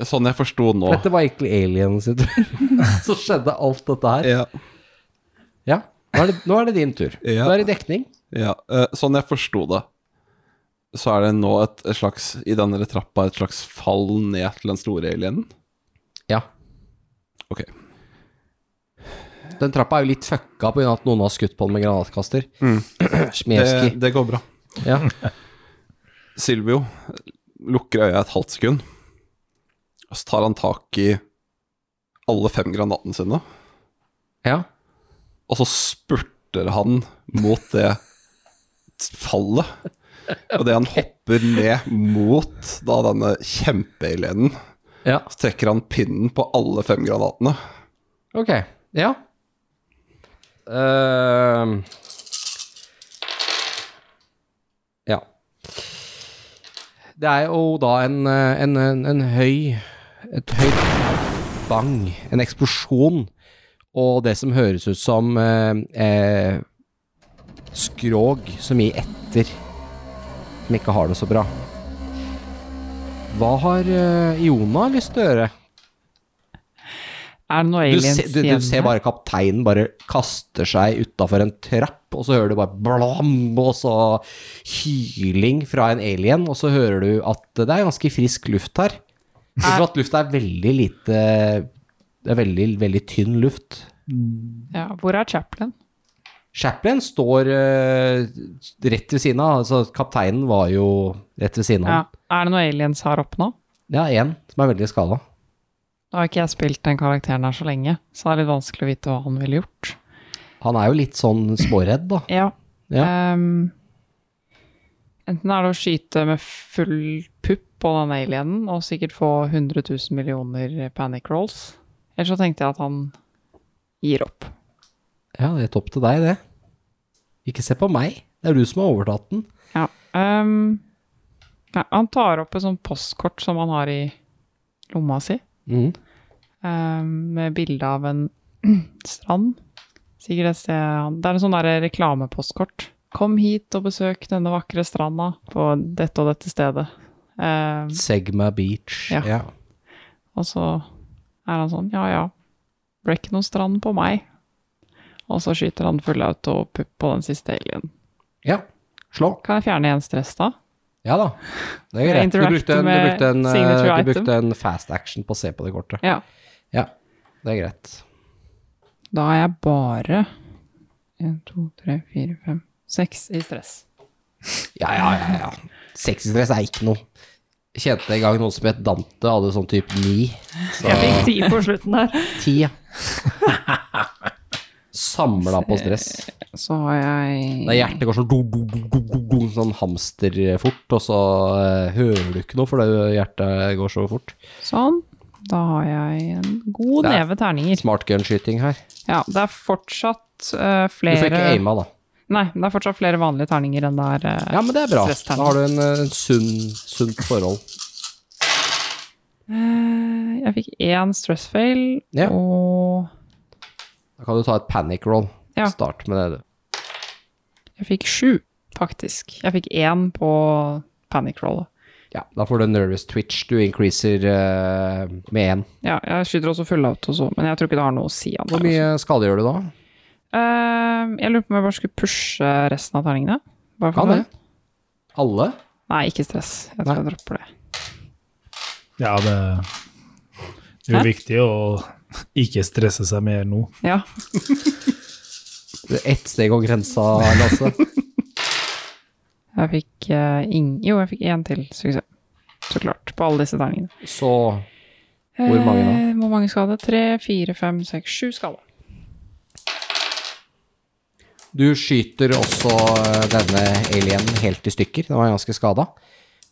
Speaker 3: Sånn jeg forsto nå
Speaker 2: Dette var egentlig alien sin tur. Så skjedde alt dette her.
Speaker 3: ja,
Speaker 2: Ja. Nå er det, nå er det din tur.
Speaker 3: Ja.
Speaker 2: Du er i dekning.
Speaker 3: ja, eh, Sånn jeg forsto det, så er det nå et, et slags I denne trappa et slags fall ned til den store alienen.
Speaker 2: Ja.
Speaker 3: Ok.
Speaker 2: Den trappa er jo litt fucka pga. at noen har skutt på den med granatkaster. Mm.
Speaker 3: Eh, Det, det går bra.
Speaker 2: Ja.
Speaker 3: Silvio lukker øya et halvt sekund, og så tar han tak i alle fem granatene sine,
Speaker 2: ja.
Speaker 3: og så spurter han mot det fallet. Og det han hopper ned mot da denne kjempealienen,
Speaker 2: Ja.
Speaker 3: så trekker han pinnen på alle fem granatene.
Speaker 2: Ok. Ja. Ehm. ja. Det er jo da en, eh, en, en, en høy Et høyt bang, en eksplosjon, og det som høres ut som eh, eh, skrog som gir etter, som ikke har det så bra. Hva har eh, Iona lyst til å gjøre?
Speaker 1: Er det noe
Speaker 2: Du,
Speaker 1: aliens
Speaker 2: se, du, du ser bare kapteinen bare kaster seg utafor en trapp, og så hører du bare blam, og så hyling fra en alien, og så hører du at det er ganske frisk luft her. Husk at lufta er veldig lite Det er veldig, veldig tynn luft.
Speaker 1: Ja, hvor er Chaplin?
Speaker 2: Chaplin står eh, rett ved siden av, altså kapteinen var jo rett ved siden av.
Speaker 1: Ja. Er det noe aliens her oppe nå?
Speaker 2: Det er én som er veldig skada.
Speaker 1: Da har ikke jeg spilt den karakteren her så lenge, så det er litt vanskelig å vite hva han ville gjort.
Speaker 2: Han er jo litt sånn småredd, da.
Speaker 1: Ja.
Speaker 2: Ja.
Speaker 1: Ehm, enten er det å skyte med full pupp på den alienen og sikkert få 100 000 millioner panic rolls, eller så tenkte jeg at han gir opp.
Speaker 2: Ja, det er topp til deg, det. Ikke se på meg. Det er du som har overtatt den.
Speaker 1: Ja. ehm, nei, han tar opp et sånt postkort som han har i lomma si,
Speaker 2: Mm.
Speaker 1: ehm, med bilde av en strand. Sikkert et sted han Det er en sånn der reklamepostkort. Kom hit og besøk denne vakre stranda på dette og dette stedet. Um,
Speaker 2: Segma Beach.
Speaker 1: Ja. Og så er han sånn, ja ja, ble ikke noen strand på meg. Og så skyter han full auto og pupp på den siste alien.
Speaker 2: Ja. Slå.
Speaker 1: Kan jeg fjerne en stress da?
Speaker 2: Ja da. Det er greit. Du
Speaker 1: Interact
Speaker 2: brukte en, du
Speaker 1: med
Speaker 2: brukte en, eh,
Speaker 1: signature
Speaker 2: du brukte en fast action på å se på det kortet.
Speaker 1: Ja.
Speaker 2: Ja, det er greit.
Speaker 1: Da er jeg bare 1, 2, 3, 4, 5, 6 i stress.
Speaker 2: Ja, ja, ja. ja. Sexstress er ikke noe. Kjente en gang noen som het Dante, hadde sånn type ni.
Speaker 4: Jeg fikk ti på slutten her.
Speaker 2: Ti, ja. Samla på stress.
Speaker 1: Så har jeg...
Speaker 2: Da hjertet går sånn, do, do, do, do, do, do, sånn hamsterfort, og så eh, hører du ikke noe fordi hjertet går så fort.
Speaker 1: Sånn. Da har jeg en god
Speaker 2: Der.
Speaker 1: neve terninger.
Speaker 2: Smart gun-skyting her.
Speaker 1: Ja, det er fortsatt eh,
Speaker 2: Du
Speaker 1: flere...
Speaker 2: får ikke aima, da.
Speaker 1: Nei, det er fortsatt flere vanlige terninger enn det er eh,
Speaker 2: Ja, men det er bra. Da
Speaker 1: stressterninger.
Speaker 2: har du en, eh, en sunn, sunt forhold.
Speaker 1: Eh, Jeg fikk én stress fail,
Speaker 2: Ja.
Speaker 1: og
Speaker 2: Da kan du ta et panic roll.
Speaker 1: Ja.
Speaker 2: Start med det, du.
Speaker 1: jeg fikk sju, faktisk. Jeg fikk én på panic rollet.
Speaker 2: Ja, da får du en nervous twitch. Du increaser eh, med én.
Speaker 1: Ja, jeg skyter også full auto, så, men jeg tror ikke det har noe å si. Han
Speaker 2: Hvor mye skade gjør du da?
Speaker 1: Ehm, jeg lurer på om jeg bare skulle pushe resten av terningene. Bare
Speaker 2: Kan
Speaker 1: for
Speaker 2: det. Alle?
Speaker 1: Nei, ikke stress. Jeg tror
Speaker 2: Nei.
Speaker 1: jeg dropper det.
Speaker 5: Ja, det, det er jo viktig å ikke stresse seg mer nå.
Speaker 1: Ja.
Speaker 2: Ett steg over grensa, Lasse.
Speaker 1: Jeg fikk eh, ing... Jo, jeg fikk én til suksess. Så klart. På alle disse terningene.
Speaker 2: Så Hvor mange da?
Speaker 1: Eh, hvor mange skade? Tre, fire, fem, seks, sju skade.
Speaker 2: Du skyter også eh, denne alienen helt i stykker. Den var ganske skada.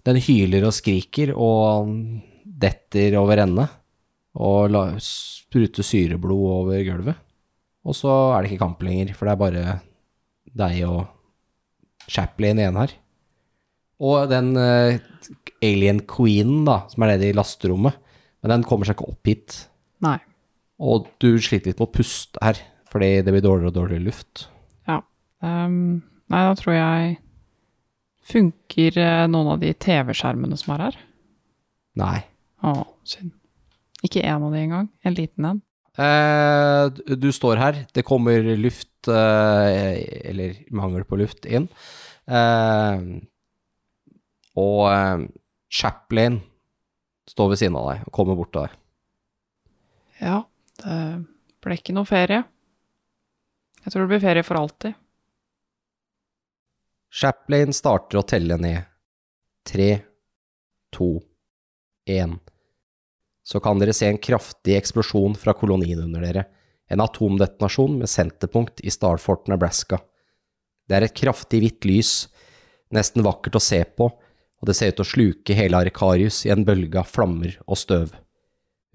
Speaker 2: Den hyler og skriker og detter over ende. Og la- spruter syreblod over gulvet. Og så er det ikke kamp lenger, for det er bare deg og Chaplin igjen her. Og den eh, alien queenen, da, som er nede i lasterommet, men den kommer seg ikke opp hit.
Speaker 1: Nei.
Speaker 2: Og du sliter litt med å puste her, fordi det blir dårligere og dårligere luft.
Speaker 1: Ja. ehm, nei, da tror jeg Funker eh, noen av de TV-skjermene som er her?
Speaker 2: Nei.
Speaker 1: Å, synd. Ikke én av de engang. En liten en.
Speaker 2: Eh, du- du står her, det kommer luft, eh, eller mangel på luft, inn. Eh, og eh, Chaplin står ved siden av deg og kommer bort til deg.
Speaker 1: Ja, det ble ikke noe ferie. Jeg tror det blir ferie for alltid.
Speaker 2: Chaplin starter å telle ned. Tre, to, én. Så kan dere se en kraftig eksplosjon fra kolonien under dere. En atomdetonasjon med senterpunkt i Starfort, Nebraska. Det er et kraftig hvitt lys, nesten vakkert å se på, og det ser ut til å sluke hele Arkarius i en bølge av flammer og støv.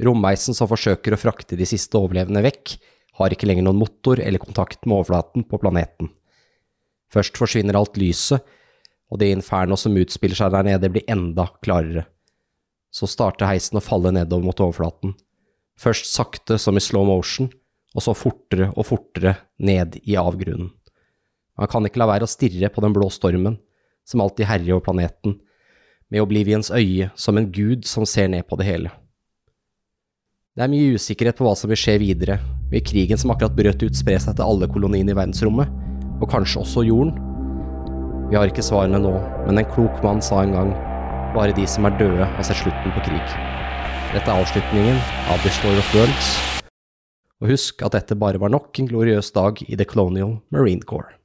Speaker 2: Rommeisen som forsøker å frakte de siste overlevende vekk, har ikke lenger noen motor eller kontakt med overflaten på planeten. Først forsvinner alt lyset, og det inferno som utspiller seg der nede, blir enda klarere. Så starter heisen å falle nedover mot overflaten. Først sakte, som i slow motion, og så fortere og fortere ned i avgrunnen. Man kan ikke la være å stirre på den blå stormen som alltid herjer over planeten, med Oblivions øye som en gud som ser ned på det hele. Det er mye usikkerhet på hva som vil skje videre, vil krigen som akkurat brøt ut spre seg til alle koloniene i verdensrommet, og kanskje også jorden? Vi har ikke svarene nå, men en klok mann sa en gang, bare de som er døde har sett slutten på krig. Dette er avslutningen av The Story of Worlds, og husk at dette bare var nok en gloriøs dag i The Colonial Marine Corps.